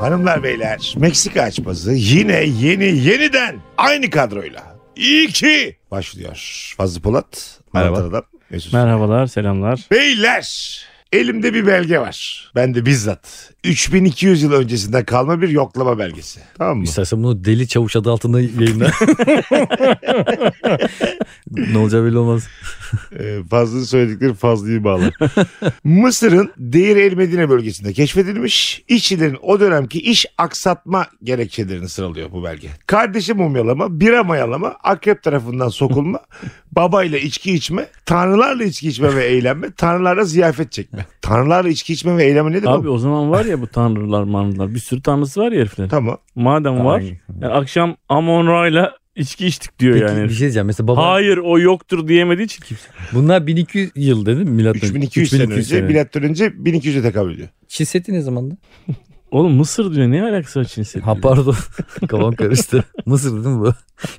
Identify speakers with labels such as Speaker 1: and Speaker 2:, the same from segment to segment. Speaker 1: Hanımlar beyler Meksika açması yine yeni yeniden aynı kadroyla. İyi ki başlıyor. Fazlı Polat.
Speaker 2: Merhaba.
Speaker 1: Anlatan Adam, Mesut.
Speaker 3: Merhabalar, selamlar.
Speaker 1: Beyler elimde bir belge var. Ben de bizzat. 3200 yıl öncesinden kalma bir yoklama belgesi. Tamam mı?
Speaker 2: İstersen bunu deli çavuş adı altında yayınla. ne olacağı belli olmaz.
Speaker 1: Ee, Fazlı'nın söyledikleri Fazlı'yı bağlar. Mısır'ın Deir el Medine bölgesinde keşfedilmiş işçilerin o dönemki iş aksatma gerekçelerini sıralıyor bu belge. Kardeşi mumyalama, bira mayalama, akrep tarafından sokulma, babayla içki içme, tanrılarla içki içme ve eğlenme, tanrılarla ziyafet çekme. Tanrılarla içki içme ve eğlenme nedir
Speaker 3: Abi
Speaker 1: oğlum?
Speaker 3: o zaman var ya bu tanrılar manrılar. Bir sürü tanrısı var ya heriflerin.
Speaker 1: Tamam.
Speaker 3: Madem var.
Speaker 2: Ay.
Speaker 3: Yani akşam Amon Ra'yla içki içtik diyor
Speaker 2: Peki
Speaker 3: yani.
Speaker 2: bir
Speaker 3: herif.
Speaker 2: şey diyeceğim. Mesela baba
Speaker 3: Hayır o yoktur diyemediği için kimse.
Speaker 2: bunlar 1200 yıl dedim milattan.
Speaker 1: 3200 sene önce, milattan önce 1200'e tekabül ediyor.
Speaker 2: Çin Seddi ne zamandı?
Speaker 3: Oğlum Mısır diyor ne alakası var Çin Seddi?
Speaker 2: Ha pardon. Kafam karıştı. Mısır değil mi bu?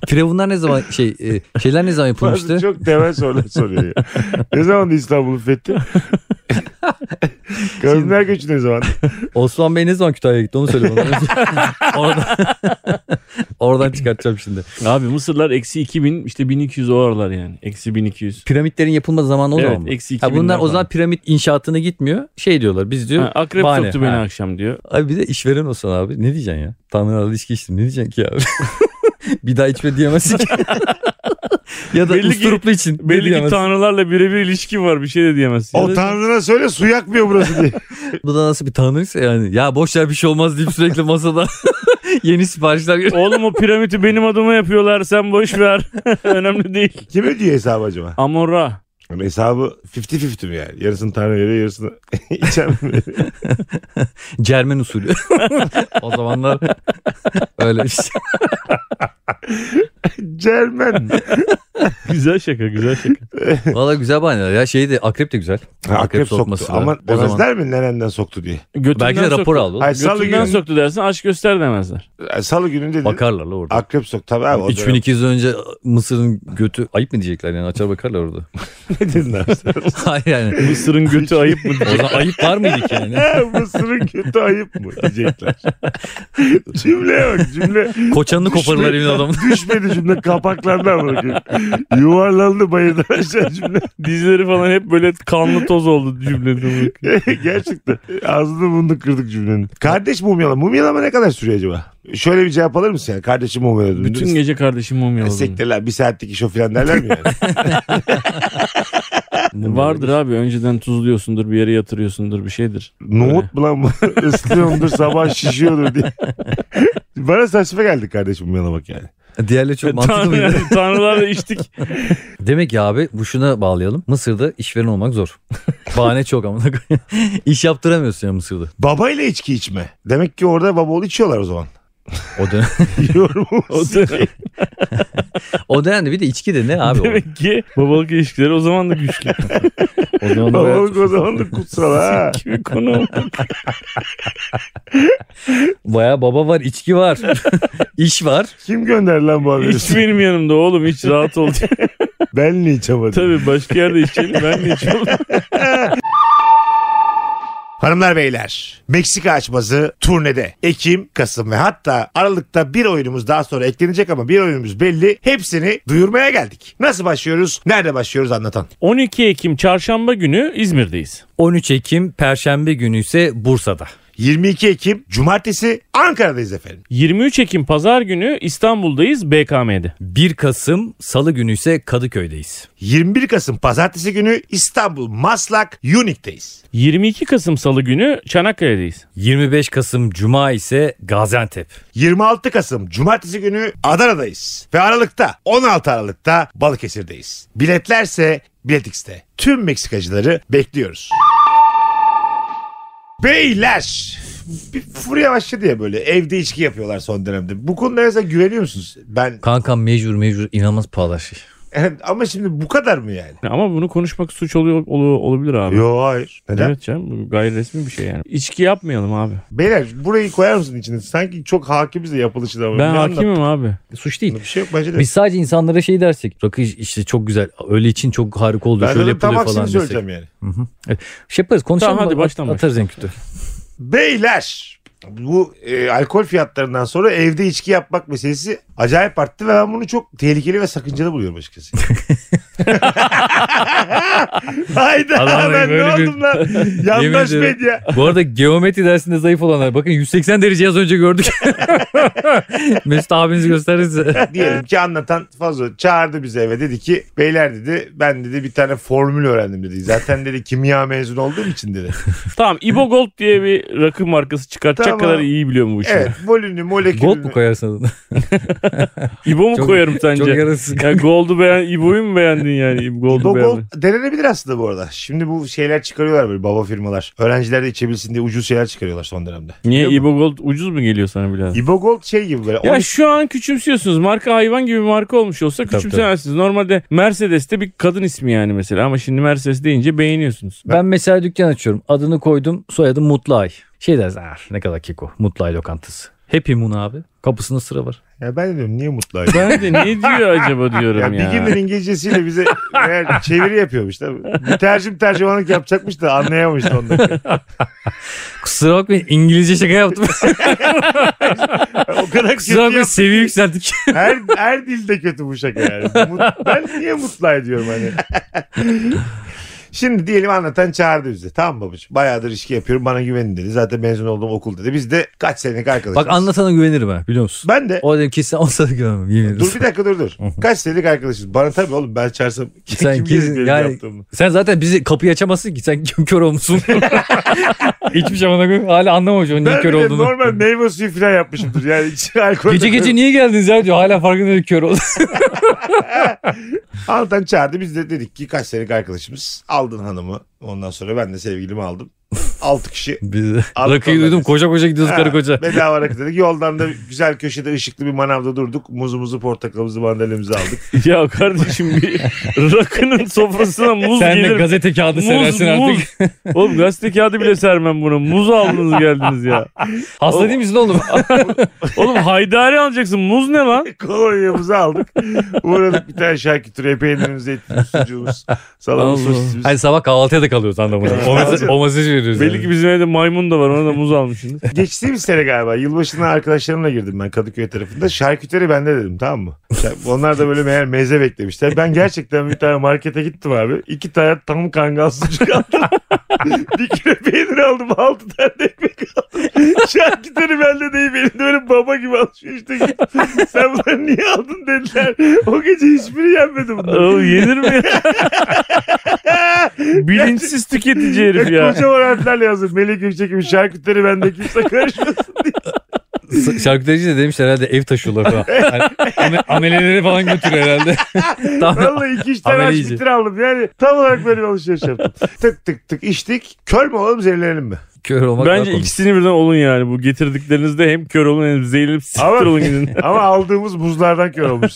Speaker 2: Firavunlar ne zaman şey e, şeyler ne zaman
Speaker 1: Fazla
Speaker 2: yapılmıştı?
Speaker 1: çok temel sorular soruyor ya. ne zaman İstanbul'u fethi? Kadınlar göçü ne zaman?
Speaker 2: Osman Bey ne zaman Kütahya'ya gitti onu söyle bana. oradan, oradan çıkartacağım şimdi.
Speaker 3: Abi Mısırlar eksi 2000 işte 1200 o aralar yani. Eksi 1200.
Speaker 2: Piramitlerin yapılma zamanı o
Speaker 3: Evet,
Speaker 2: zaman mı?
Speaker 3: eksi
Speaker 2: Ha,
Speaker 3: 2000'ler
Speaker 2: bunlar o
Speaker 3: falan.
Speaker 2: zaman piramit inşaatına gitmiyor. Şey diyorlar biz diyor.
Speaker 3: Ha, akrep
Speaker 2: bahane.
Speaker 3: soktu beni
Speaker 2: Ha.
Speaker 3: akşam diyor.
Speaker 2: Abi bir de işveren olsan abi ne diyeceksin ya? Tanrılarla ilişki içtim ne diyeceksin ki abi? bir daha içme diyemezsin ki. ya da
Speaker 3: Belli ki-
Speaker 2: usturuplu için ne
Speaker 3: Belli ki
Speaker 2: diyemezsin.
Speaker 3: tanrılarla birebir ilişki var bir şey de diyemezsin.
Speaker 1: O tanrına söyle su yakmıyor burası diye.
Speaker 2: Bu da nasıl bir tanrıysa yani. Ya boş ver bir şey olmaz deyip sürekli masada yeni siparişler geliyor.
Speaker 3: Oğlum o piramidi benim adıma yapıyorlar sen boş ver. Önemli değil.
Speaker 1: Kim ödüyor hesabı acaba?
Speaker 3: Amon Ra.
Speaker 1: Yani hesabı 50-50 mi yani? Yarısını tanrı veriyor yarısını içen mi?
Speaker 2: Cermen usulü. o zamanlar öyle bir şey.
Speaker 1: Cermen.
Speaker 3: Güzel şaka güzel şaka.
Speaker 2: Valla güzel bahaneler. Ya şey de akrep de güzel.
Speaker 1: Ha, akrep soktu.
Speaker 2: sokması var.
Speaker 1: Ama
Speaker 2: O zaman-
Speaker 1: demezler mi nerenden soktu diye.
Speaker 3: Götünden
Speaker 2: Belki de rapor
Speaker 3: soktu.
Speaker 2: aldı. oğlum.
Speaker 1: Ay, salı
Speaker 3: Götünden
Speaker 1: günü,
Speaker 3: soktu dersin aç göster demezler.
Speaker 1: Ay, salı günü dedi.
Speaker 2: Bakarlar la orada.
Speaker 1: Akrep soktu. Tabii abi. o dönem-
Speaker 2: 3200 önce Mısır'ın götü ayıp mı diyecekler yani açar bakarlar orada.
Speaker 1: Ne dedin abi sen?
Speaker 2: Hayır yani.
Speaker 3: Mısır'ın götü ayıp mı?
Speaker 2: O zaman ayıp var mıydı ki yani?
Speaker 1: Mısır'ın kötü ayıp mı diyecekler. cümle bak cümle.
Speaker 2: Koçanını koparırlar
Speaker 1: Düşmedi.
Speaker 2: emin adamın.
Speaker 1: Düşmedi cümle kapaklarına bırakıyor. Yuvarlandı bayırdan aşağı cümle.
Speaker 3: Dizleri falan hep böyle kanlı toz oldu cümlede.
Speaker 1: Gerçekten. Ağzını burnunu kırdık cümlenin. Kardeş mumyalama. Mumyalama ne kadar sürüyor acaba? Şöyle bir cevap alır mısın yani? Kardeşim mumyaladım.
Speaker 3: Bütün gece kardeşim mumyaladı.
Speaker 1: Sektirler bir saatlik iş o filan derler mi yani?
Speaker 3: Vardır abi önceden tuzluyorsundur bir yere yatırıyorsundur bir şeydir.
Speaker 1: Nohut mu lan bu? Islıyorumdur sabah şişiyordur diye. Bana saçma geldi kardeşim mumyalamak yani.
Speaker 2: Diğerleri çok mantıklı
Speaker 3: Tanrı,
Speaker 2: mıydı?
Speaker 3: tanrılarla içtik.
Speaker 2: Demek ki abi bu şuna bağlayalım. Mısır'da işveren olmak zor. Bahane çok ama. İş yaptıramıyorsun ya Mısır'da.
Speaker 1: Babayla içki içme. Demek ki orada baba oğlu içiyorlar o zaman.
Speaker 2: O dönem.
Speaker 3: O
Speaker 1: Yorumumuz.
Speaker 3: dönem-
Speaker 2: O dönemde bir de içki de ne abi? o?
Speaker 3: demek ki babalık ilişkileri o zaman da güçlü.
Speaker 2: O zaman da bayağı-
Speaker 1: Babalık o zaman da kutsal ha.
Speaker 3: Kimi konu
Speaker 2: bayağı baba var, içki var. İş var.
Speaker 1: Kim gönder lan bu haberi?
Speaker 3: Hiç benim yanımda oğlum hiç rahat ol. diye.
Speaker 1: ben niye içemedim?
Speaker 3: Tabii başka yerde içelim ben de içiyorum.
Speaker 1: Hanımlar beyler Meksika açması turnede Ekim, Kasım ve hatta Aralık'ta bir oyunumuz daha sonra eklenecek ama bir oyunumuz belli. Hepsini duyurmaya geldik. Nasıl başlıyoruz? Nerede başlıyoruz anlatan.
Speaker 3: 12 Ekim çarşamba günü İzmir'deyiz.
Speaker 2: 13 Ekim Perşembe günü ise Bursa'da.
Speaker 1: 22 Ekim Cumartesi Ankara'dayız efendim.
Speaker 3: 23 Ekim pazar günü İstanbul'dayız BKM'de.
Speaker 2: 1 Kasım Salı günü ise Kadıköy'deyiz.
Speaker 1: 21 Kasım Pazartesi günü İstanbul Maslak Unique'deyiz.
Speaker 3: 22 Kasım salı günü Çanakkale'deyiz.
Speaker 2: 25 Kasım Cuma ise Gaziantep.
Speaker 1: 26 Kasım Cumartesi günü Adana'dayız. Ve Aralık'ta 16 Aralık'ta Balıkesir'deyiz. Biletlerse Biletix'te. Tüm Meksikacıları bekliyoruz. Beyler! Bir furya başladı ya böyle. Evde içki yapıyorlar son dönemde. Bu konuda mesela güveniyor musunuz? Ben
Speaker 2: Kankam mecbur mecbur inanılmaz pahalı şey.
Speaker 1: ama şimdi bu kadar mı yani?
Speaker 3: Ama bunu konuşmak suç oluyor ol- olabilir abi.
Speaker 1: Yo hayır. Neden?
Speaker 3: Evet canım bu gayri resmi bir şey yani. İçki yapmayalım abi.
Speaker 1: Beyler burayı koyar mısın içine? Sanki çok hakimiz de yapılışına. ama.
Speaker 3: Ben
Speaker 1: Ne
Speaker 3: hakimim abi.
Speaker 2: Suç değil.
Speaker 1: anlat- Bir şey yok bence de.
Speaker 2: Biz sadece insanlara şey dersek. Rakı işte çok güzel. Öyle için çok harika oldu.
Speaker 1: ben
Speaker 2: şöyle
Speaker 1: zaten tam
Speaker 2: yapılıyor falan
Speaker 1: aksini
Speaker 2: desek.
Speaker 1: söyleyeceğim yani.
Speaker 2: Şey yaparız konuşalım.
Speaker 3: Tamam, hadi
Speaker 2: at-
Speaker 3: baştan
Speaker 2: Atarız en kötü.
Speaker 1: Beyler bu e, alkol fiyatlarından sonra evde içki yapmak meselesi acayip arttı ve ben bunu çok tehlikeli ve sakıncalı buluyorum açıkçası. Hayda
Speaker 3: Adam
Speaker 1: ben ne
Speaker 3: böyle bir-
Speaker 1: oldum lan? Yandaş
Speaker 2: Yemin ederim.
Speaker 1: medya.
Speaker 2: Bu arada geometri dersinde zayıf olanlar. Bakın 180 dereceyi az önce gördük. Mesut abinizi gösterir size.
Speaker 1: Diyelim ki anlatan fazla çağırdı bizi eve dedi ki beyler dedi ben dedi bir tane formül öğrendim dedi. Zaten dedi kimya mezunu olduğum için dedi.
Speaker 3: Tamam İbo Gold diye bir rakı markası çıkartacak
Speaker 1: Tamam.
Speaker 3: kadar iyi biliyorum bu işi.
Speaker 1: Evet molünü molekülünü.
Speaker 2: Gold mu koyarsın adını?
Speaker 3: İbo mu
Speaker 2: Çok-
Speaker 3: koyarım sence?
Speaker 2: Çok yarasız.
Speaker 3: Ya Gold'u beğen, İbo'yu mu beğendin yani? İbo Gold'u
Speaker 1: Gold
Speaker 3: beğendin.
Speaker 1: denenebilir aslında bu arada. Şimdi bu şeyler çıkarıyorlar böyle baba firmalar. Öğrenciler de içebilsin diye ucuz şeyler çıkarıyorlar son dönemde.
Speaker 3: Niye İbo Gold ucuz mu geliyor sana birader?
Speaker 1: İbo Gold şey gibi böyle.
Speaker 3: Ya
Speaker 1: on-
Speaker 3: şu an küçümsüyorsunuz. Marka hayvan gibi bir marka olmuş olsa
Speaker 2: tabii.
Speaker 3: küçümsemezsiniz. Normalde Mercedes'te bir kadın ismi yani mesela ama şimdi Mercedes deyince beğeniyorsunuz.
Speaker 2: Ben mesela dükkan açıyorum. Adını koydum. Soyadım Mutluay. Şey dersin. "Ah, ne kadar keko. Mutluay lokantası. Happy Moon abi. Kapısında sıra var.
Speaker 1: Ya ben de diyorum niye mutlu aile?
Speaker 3: Ben de ne diyor acaba
Speaker 1: Ya
Speaker 3: diyorum ya.
Speaker 1: Bilgin'in İngilizcesiyle bize meğer çeviri yapıyormuş tabii. Bir tercim tercümanlık yapacakmış da anlayamamış da ondan.
Speaker 2: Kusura bakmayın İngilizce şaka yaptım.
Speaker 1: O kadar kötü.
Speaker 2: Kusura bakmayın
Speaker 1: yap-
Speaker 2: seviye yükselttik.
Speaker 1: Her, her dilde kötü bu şaka yani. Mut- ben niye mutlu aile diyorum hani. Şimdi diyelim anlatan çağırdı bizi. Tamam babacığım bayağıdır ilişki yapıyorum bana güvenin dedi. Zaten mezun olduğum okul dedi. Biz de kaç senelik arkadaşız.
Speaker 2: Bak anlatana güvenirim ha biliyor musun?
Speaker 1: Ben de
Speaker 2: O dedim kesin olsa da güvenmem yemin ederim.
Speaker 1: Dur bir dakika dur dur. Kaç senelik arkadaşız. Bana tabii oğlum ben çağırsam kim,
Speaker 2: Sen
Speaker 1: kim
Speaker 2: kesin-
Speaker 1: bilir benim
Speaker 2: yani-
Speaker 1: yaptığımı.
Speaker 2: Sen zaten bizi kapıyı açamazsın ki. Sen kim kör olmuşsun. Hiçbir şey bana göre hala anlamamış onun niye
Speaker 1: Ben
Speaker 2: kör
Speaker 1: bir de
Speaker 2: olduğunu.
Speaker 1: normal meyve suyu falan yapmışımdır. Yani içine alkol
Speaker 2: Gece
Speaker 1: de-
Speaker 2: gece niye geldiniz ya diyor. Hala farkında değil kör oldu.
Speaker 1: Altan çağırdı biz de dedik ki kaç senelik arkadaşımız. Aldın hanımı. Ondan sonra ben de sevgilimi aldım. 6 kişi.
Speaker 2: Biz
Speaker 1: Aldık
Speaker 2: rakıyı duydum
Speaker 1: onları.
Speaker 2: koca koca gidiyoruz
Speaker 1: Ha,
Speaker 2: karı koca.
Speaker 1: Bedava rakı dedik. Yoldan da güzel köşede ışıklı bir manavda durduk. Muzumuzu, portakalımızı, mandalimizi aldık.
Speaker 3: Ya kardeşim bir rakının sofrasına muz
Speaker 2: Sen de
Speaker 3: gelir.
Speaker 2: gazete kağıdı
Speaker 3: muz
Speaker 2: seversin artık.
Speaker 3: muz. Oğlum gazete kağıdı bile sermem bunu. Muz aldınız geldiniz ya.
Speaker 2: Hasta değil misin oğlum?
Speaker 3: Oğlum haydari alacaksın. Muz ne lan?
Speaker 1: Kolonyamızı aldık. Uğradık bir tane şarküteriye peynirimizi, etimiz, sucuğumuz, salamız,
Speaker 3: Allah.
Speaker 1: sosisimiz.
Speaker 2: hani sabah kahvaltıya da kalıyoruz anlamında. O, mesaj, o mesajı veriyoruz.
Speaker 3: Belli
Speaker 2: Belli
Speaker 3: ki bizim evde maymun da var. Ona da muz almışsınız.
Speaker 1: Geçtiğimiz sene galiba yılbaşına arkadaşlarımla girdim ben Kadıköy tarafında. Şarküteri bende dedim tamam mı? Yani Onlar da böyle meğer meze beklemişler. Ben gerçekten bir tane markete gittim abi. İki tane tam kangal sucuk aldım. bir kilo peynir aldım. Altı tane ekmek aldım. Şarküteri bende değil. Benim de böyle baba gibi alışverişte gittim. Sen bunları niye aldın dediler. O gece hiçbiri yenmedi bunlar.
Speaker 3: Oğlum yenir mi ya? Bilinçsiz tüketici herif
Speaker 1: Ya.
Speaker 3: ya.
Speaker 1: Kocaman harflerle yazdım. Melih Gökçek'in şarküteri bende kimse karışmasın diye.
Speaker 2: ki şarkıdacı da demiş herhalde ev taşıyorlar falan. Hani, ame- ameleleri falan götürüyor herhalde. Tam-
Speaker 1: Vallahi iki üç tane
Speaker 2: Amele
Speaker 1: aç
Speaker 2: yiyecek.
Speaker 1: bitir aldım. Yani tam olarak böyle bir alışveriş yaptım. tık tık tık içtik. Kör mü olalım zehirlenelim mi?
Speaker 2: kör olmak daha
Speaker 3: Bence
Speaker 2: komik.
Speaker 3: ikisini birden olun yani. Bu getirdiklerinizde hem kör olun hem zehirlenip siktir
Speaker 1: Ama-
Speaker 3: olun gidin.
Speaker 1: Ama aldığımız buzlardan kör olmuş.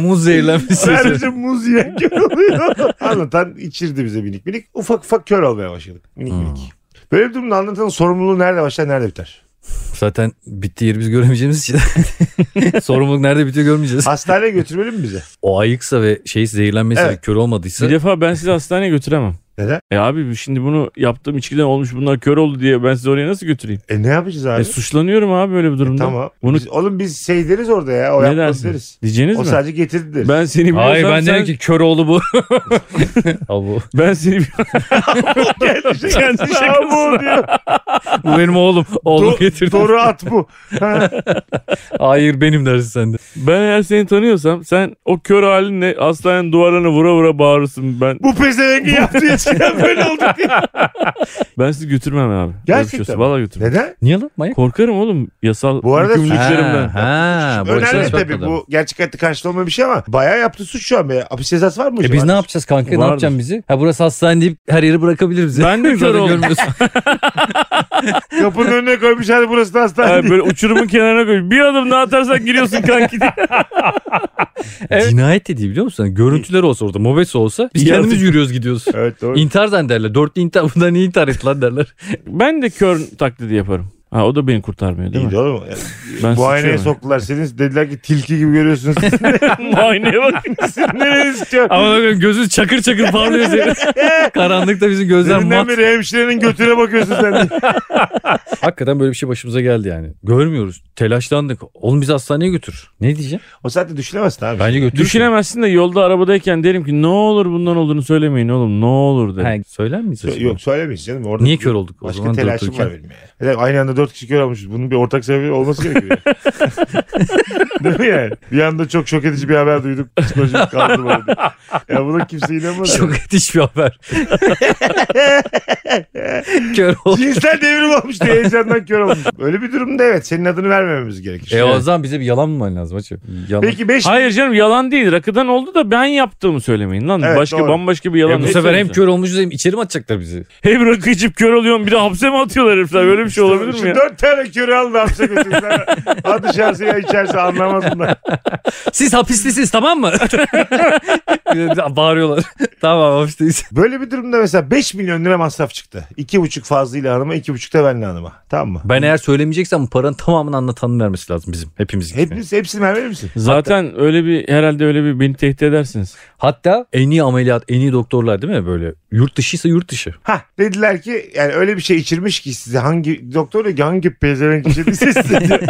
Speaker 2: Muz zehirlenmesi.
Speaker 1: Sadece muz yiyen kör oluyor. Anlatan içirdi bize minik minik. Ufak ufak kör olmaya başladık. Minik minik.
Speaker 3: Hmm.
Speaker 1: Böyle bir durumda anlatanın sorumluluğu nerede başlar nerede biter?
Speaker 2: Zaten bittiği yeri biz göremeyeceğimiz için. Sorumluluk nerede bitiyor görmeyeceğiz.
Speaker 1: Hastaneye götürmeli mi bize?
Speaker 2: O ayıksa ve şey zehirlenmesi
Speaker 1: Evet.
Speaker 2: ve kör olmadıysa.
Speaker 3: Bir defa ben sizi hastaneye götüremem.
Speaker 1: Neden?
Speaker 3: E abi şimdi bunu yaptığım içkiden olmuş bunlar kör oldu diye ben sizi oraya nasıl götüreyim?
Speaker 1: E ne yapacağız abi? E,
Speaker 3: E suçlanıyorum abi böyle bir durumda.
Speaker 1: tamam.
Speaker 3: Bunu
Speaker 1: Biz- oğlum biz şey deriz orada ya. O
Speaker 3: ne
Speaker 1: yapmaz
Speaker 3: dersin?
Speaker 1: deriz.
Speaker 3: Diyeceğiniz
Speaker 1: O
Speaker 3: mi?
Speaker 1: sadece getirdi deriz.
Speaker 3: Ben seni biliyorsam
Speaker 2: Hayır ben
Speaker 3: sen-
Speaker 2: dedim ki kör oğlu bu. Al bu.
Speaker 3: ben seni biliyorsam
Speaker 1: Kendi
Speaker 3: Kendi
Speaker 1: şakası. bu diyor.
Speaker 2: Bu benim oğlum. Oğlum
Speaker 1: Do-
Speaker 2: getirdi.
Speaker 1: Doğru at bu. Ha.
Speaker 2: Hayır benim dersin sen de.
Speaker 3: ben eğer seni tanıyorsam sen o kör halinle hastanenin duvarlarına vura vura bağırırsın. Ben
Speaker 1: bu pezevengi yaptığı eskiden böyle oldu diye.
Speaker 3: ben sizi götürmem abi.
Speaker 1: Gerçekten mi?
Speaker 3: Valla götürmem.
Speaker 1: Neden?
Speaker 2: Niye lan manyak?
Speaker 3: Korkarım oğlum yasal
Speaker 1: Bu arada-
Speaker 3: yükümlülüklerimden.
Speaker 2: Ha, bu
Speaker 1: Önemli
Speaker 2: açıdan
Speaker 1: tabii
Speaker 2: bakmadım.
Speaker 1: bu gerçek hayatta karşılığı olmayan bir şey ama bayağı yaptı suç şu an. be. Hapis cezası var mı?
Speaker 2: E
Speaker 1: hocam?
Speaker 2: biz ne yapacağız kanka? Ne
Speaker 3: Vardır.
Speaker 2: yapacaksın bizi? Ha burası hastane deyip her yeri bırakabilir bizi.
Speaker 3: Ben de
Speaker 2: Zaten
Speaker 3: kör oldum.
Speaker 2: görmüyorsun.
Speaker 1: Kapının önüne koymuş hadi burası da hastane.
Speaker 3: Yani böyle uçurumun kenarına koy. Bir adım daha atarsan giriyorsun kanki diye.
Speaker 2: Evet. Cinayet dediği biliyor musun? Görüntüler olsa orada, mobese olsa biz
Speaker 3: Yaratık-
Speaker 2: kendimiz yürüyoruz gidiyoruz.
Speaker 1: Evet doğru.
Speaker 2: İntihar zan derler. Dörtlü intihar. Bunlar niye intihar etti lan derler.
Speaker 3: Ben de kör taklidi yaparım. Ha o da beni kurtarmıyor değil
Speaker 1: İyi
Speaker 3: mi?
Speaker 1: de oğlum. Yani
Speaker 3: Ben
Speaker 1: Muayeneye
Speaker 3: sıçıyorum.
Speaker 1: soktular seni. Dediler ki tilki gibi görüyorsunuz.
Speaker 3: Muayeneye bak.
Speaker 1: Sizin nereniz istiyor?
Speaker 2: Ama bakın gözü çakır çakır parlıyor senin. Karanlıkta bizim gözler mat.
Speaker 1: Deminden beri hemşirenin götüne bakıyorsun sen. de.
Speaker 2: Hakikaten böyle bir şey başımıza geldi yani. Görmüyoruz. Telaşlandık. Oğlum bizi hastaneye götür. Ne diyeceğim?
Speaker 1: o saatte düşünemezsin abi.
Speaker 2: Bence götür.
Speaker 3: Düşünemezsin de yolda arabadayken derim ki ne olur bundan olduğunu söylemeyin oğlum ne olur derim.
Speaker 2: Ha, söyler miyiz?
Speaker 1: Sö-
Speaker 2: acaba?
Speaker 1: Yok söylemeyiz canım. Orada
Speaker 2: Niye kör olduk? o
Speaker 1: Başka
Speaker 2: zaman
Speaker 1: telaşım
Speaker 2: durdururken?
Speaker 1: var benim ya. Yani aynı anda dört kişi kör olmuşuz. Bunun bir ortak sebebi olması gerekiyor. Değil mi yani? Bir anda çok şok edici bir haber duyduk. Psikolojim kaldı bana. diye. Ya buna kimse inanmaz.
Speaker 2: Çok etiş bir haber. kör olduk.
Speaker 1: Cinsel devrim olmuş diye heyecandan kör olmuş. Öyle bir durumda evet senin adını vermememiz gerekir.
Speaker 2: E o zaman bize bir yalan mı lazım hacı? Yalan.
Speaker 1: Peki 5
Speaker 3: Hayır canım yalan değil. Rakıdan oldu da ben yaptığımı söylemeyin lan.
Speaker 1: Evet,
Speaker 3: başka
Speaker 1: doğru.
Speaker 3: bambaşka bir yalan.
Speaker 2: E bu sefer hem kör olmuşuz hem içeri mi atacaklar bizi?
Speaker 3: Hem rakı içip kör oluyorsun bir de hapse mi atıyorlar herifler? Böyle bir şey olabilir mi ya?
Speaker 1: Dört tane körü aldı hapse götürdüler. Ha dışarısı ya içerisi anlamaz bunlar.
Speaker 2: Siz hapislisiniz tamam mı? Bir de Bağırıyorlar. tamam hapisteyiz.
Speaker 1: Böyle bir durumda mesela 5 milyon lira masraf çıktı. 2,5 fazlıyla hanıma 2,5 da benle hanıma. Tamam mı?
Speaker 2: Ben eğer söylemeyeceksem bu paranın tamamını anlatanın vermesi lazım bizim. Hepimiz gibi.
Speaker 1: Hepiniz, hepsini vermeli misin?
Speaker 3: Zaten öyle bir herhalde öyle bir beni tehdit edersiniz.
Speaker 2: Hatta en iyi ameliyat, en iyi doktorlar değil mi böyle? Yurt dışıysa yurt dışı.
Speaker 1: Ha dediler ki yani öyle bir şey içirmiş ki size hangi doktor diyor ki hangi pezevenk içirdiyse size diyor.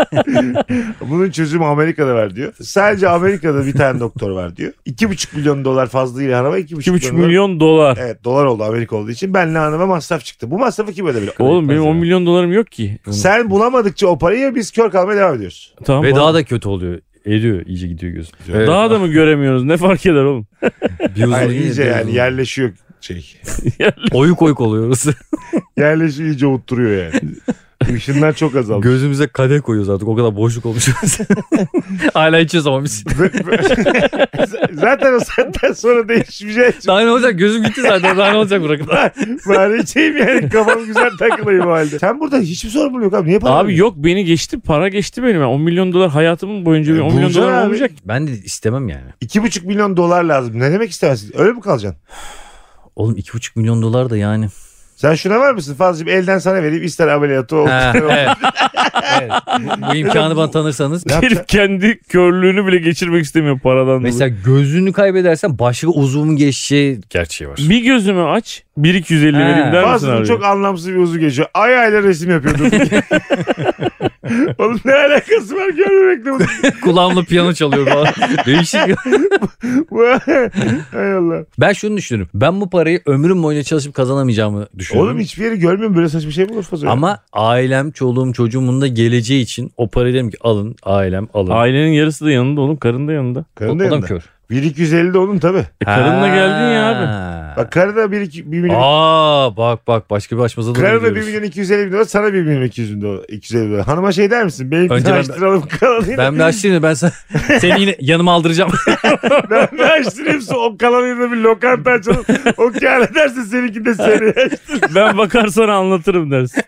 Speaker 1: Bunun çözümü Amerika'da var diyor. Sadece Amerika'da bir tane doktor var diyor. 2,5 milyon dolar fazlıyla hanıma 2,5,
Speaker 3: 2,5 milyon dolar.
Speaker 1: Evet dolar oldu Amerika olduğu için benle hanıma masraf çıktı. Bu masrafı kim ödemeli?
Speaker 3: Oğlum
Speaker 2: etmez
Speaker 3: benim
Speaker 2: ya.
Speaker 3: 10 milyon dolarım yok ki.
Speaker 1: Sen bulamadıkça o parayı biz kör kalmaya devam ediyoruz.
Speaker 3: Tamam.
Speaker 2: Ve
Speaker 3: abi.
Speaker 2: daha da kötü oluyor. Eriyor iyice gidiyor göz. Evet.
Speaker 3: Daha da mı göremiyoruz? Ne fark eder oğlum?
Speaker 2: Bir uzun
Speaker 1: Hayır,
Speaker 2: iyice,
Speaker 1: iyice
Speaker 2: bir
Speaker 1: yani
Speaker 2: uzun.
Speaker 1: yerleşiyor şey.
Speaker 2: Oyuk oyuk oluyoruz.
Speaker 1: Yerleşiyor iyice oturuyor yani. Işınlar çok azaldı.
Speaker 2: Gözümüze kadeh koyuyoruz artık. O kadar boşluk olmuş. Hala içiyoruz ama biz.
Speaker 1: Zaten o saatten sonra değişmeyecek.
Speaker 2: Daha ne olacak? Gözüm gitti zaten. Daha ne olacak bırakın.
Speaker 1: Bari içeyim yani kafam güzel takılayım o halde. Sen burada hiçbir sorumluluğu yok abi. Niye para
Speaker 3: Abi yok beni geçti. Para geçti benim. Yani 10 milyon dolar hayatımın boyunca bir 10 milyon
Speaker 1: E, bulacaksın
Speaker 3: dolar
Speaker 1: abi.
Speaker 3: olmayacak.
Speaker 2: Ben de istemem yani.
Speaker 1: 2,5 milyon dolar lazım. Ne demek istemezsin? Öyle mi kalacaksın?
Speaker 2: Oğlum 2,5 milyon dolar da yani.
Speaker 1: Sen şuna var mısın? Fazlacığım elden sana vereyim. ister ameliyatı ol.
Speaker 2: Ha,
Speaker 1: ister ol.
Speaker 2: evet. evet. Bu, bu imkanı bana tanırsanız.
Speaker 1: Ne yapacaksın?
Speaker 3: Herif kendi körlüğünü bile geçirmek istemiyor paradan dolayı.
Speaker 2: Mesela gözünü kaybedersen başka uzuvun geçeceği gerçeği var.
Speaker 3: Bir gözümü aç. 1250
Speaker 2: He.
Speaker 3: vereyim der misin
Speaker 1: Bazıları
Speaker 3: abi?
Speaker 1: çok anlamsız bir uzun geçiyor. Ay ayla resim yapıyordu. Oğlum ne alakası var görmemekle bu.
Speaker 2: Kulağımla piyano çalıyor falan. Değişik.
Speaker 1: bu- Hay Allah.
Speaker 2: Ben şunu düşünürüm. Ben bu parayı ömrüm boyunca çalışıp kazanamayacağımı düşünüyorum.
Speaker 1: Oğlum hiçbir yeri görmüyorum. Böyle saçma şey mi olur fazla?
Speaker 2: Ama ailem, çoluğum, çocuğumun da geleceği için o parayı dedim ki alın ailem alın.
Speaker 3: Ailenin yarısı da yanında oğlum. Karın da yanında.
Speaker 2: O, o
Speaker 1: Karın da
Speaker 2: da mı
Speaker 1: yanında.
Speaker 2: kör?
Speaker 1: 1250 de onun tabii.
Speaker 3: E, karınla geldin ya abi.
Speaker 1: Bak karı da 1, 2, 1 milyon.
Speaker 2: Aa bak bak başka bir açmaza doğru
Speaker 1: Karına 1
Speaker 2: gidiyoruz.
Speaker 1: milyon 250 bin dolar sana 1 milyon 200 bin dolar. 250 bin dolar. Hanıma şey der misin? Benimkini
Speaker 2: Önce ben-
Speaker 1: açtıralım kalanıyla.
Speaker 2: Ben bir açtığını ben sana, seni yine yanıma aldıracağım.
Speaker 1: Ben bir açtırayım sonra o kalanıyla bir lokanta açalım. O kâr ederse seninki de seni.
Speaker 3: Ben bakarsan anlatırım dersin.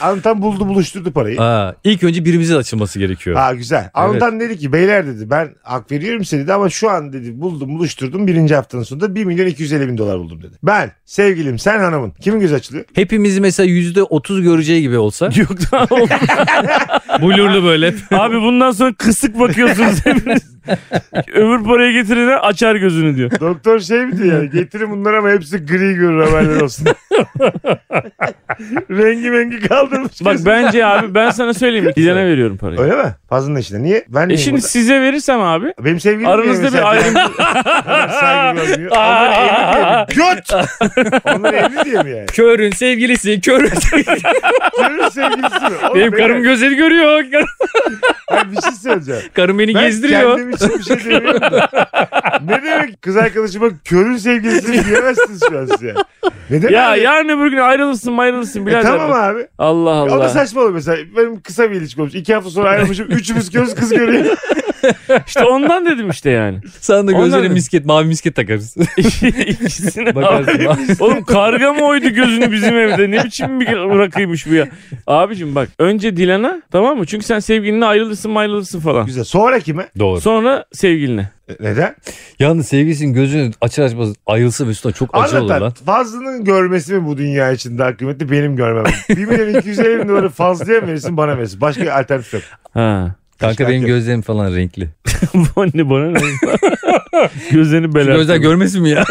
Speaker 1: Antan buldu buluşturdu parayı.
Speaker 2: Aa, ilk önce birimizin açılması gerekiyor.
Speaker 1: Ha güzel. Antan dedi ki beyler dedi ben hak veriyorum size dedi ama şu an dedi buldum buluşturdum birinci haftanın sonunda 1 milyon 250 bin dolar buldum dedi. Ben sevgilim sen hanımın kimin göz açılıyor?
Speaker 2: Hepimizi mesela yüzde otuz göreceği gibi olsa.
Speaker 3: Yok daha oğlum.
Speaker 2: Blurlu böyle.
Speaker 3: Abi bundan sonra kısık bakıyorsunuz hepiniz. Öbür parayı getirene açar gözünü diyor.
Speaker 1: Doktor şey mi diyor yani getirin bunları ama hepsi gri görür haberler olsun. rengi rengi kaldırmış.
Speaker 3: Bak
Speaker 1: kesin.
Speaker 3: bence abi ben sana söyleyeyim. Gidene veriyorum parayı.
Speaker 1: Öyle mi? Fazlının eşine. Niye? Ben
Speaker 3: E
Speaker 1: neyim
Speaker 3: şimdi
Speaker 1: burada?
Speaker 3: size verirsem abi
Speaker 1: Benim sevgilim
Speaker 3: aranızda bir ayrım.
Speaker 1: saygı görmüyor. Onlar evli diye mi? Göt! Onlar evli diye mi yani?
Speaker 2: Körün sevgilisi, körün sevgilisi.
Speaker 1: Görür sevgilisi mi? Oğlum
Speaker 2: Benim
Speaker 1: ben-
Speaker 2: karım gözleri görüyor.
Speaker 1: Ben bir şey söyleyeceğim.
Speaker 2: Karım beni
Speaker 1: Ben
Speaker 2: gezdiriyor.
Speaker 1: kendim için bir şey demiyorum. da. ne demek kız arkadaşıma körün sevgilisi mi diyemezsiniz şu an size. Ne demek?
Speaker 3: ya yarın öbür gün ayrılırsın ayrılırsın
Speaker 1: E
Speaker 3: birader.
Speaker 1: tamam abi.
Speaker 3: Allah
Speaker 1: O da
Speaker 3: Allah.
Speaker 1: saçma olur mesela. Benim kısa bir ilişki olmuş. İki hafta sonra ayrılmışım. Üçümüz körüz kız görüyor.
Speaker 3: İşte ondan dedim işte yani.
Speaker 2: Sana da
Speaker 3: Onlar
Speaker 2: gözlere
Speaker 3: ne?
Speaker 2: misket, mavi misket takarız.
Speaker 3: İkisine
Speaker 2: Bakarsın.
Speaker 3: Oğlum karga mı oydu gözünü bizim evde? Ne biçim bir rakıymış bu ya? Abicim bak önce Dilan'a tamam mı? Çünkü sen sevgilinle ayrılırsın ayrılırsın falan.
Speaker 1: Güzel. Sonra kime?
Speaker 2: Doğru.
Speaker 3: Sonra sevgiline.
Speaker 1: E, Neden?
Speaker 2: Yalnız sevgilisinin gözünü açar açmaz ayrılsa Mesut'a çok acı olur
Speaker 1: Anlatan
Speaker 2: lan.
Speaker 1: Fazlı'nın görmesi mi bu dünya için daha kıymetli benim görmem. 1 milyon 250 bin doları Fazlı'ya mı verirsin bana verirsin. Başka bir alternatif yok.
Speaker 3: Ha.
Speaker 2: Kanka
Speaker 1: Kışkırtma
Speaker 2: benim
Speaker 1: yok.
Speaker 2: gözlerim falan renkli.
Speaker 3: Bu anne bana ne? Gözlerini
Speaker 2: Şu
Speaker 3: beler.
Speaker 2: Gözler görmesin mi ya?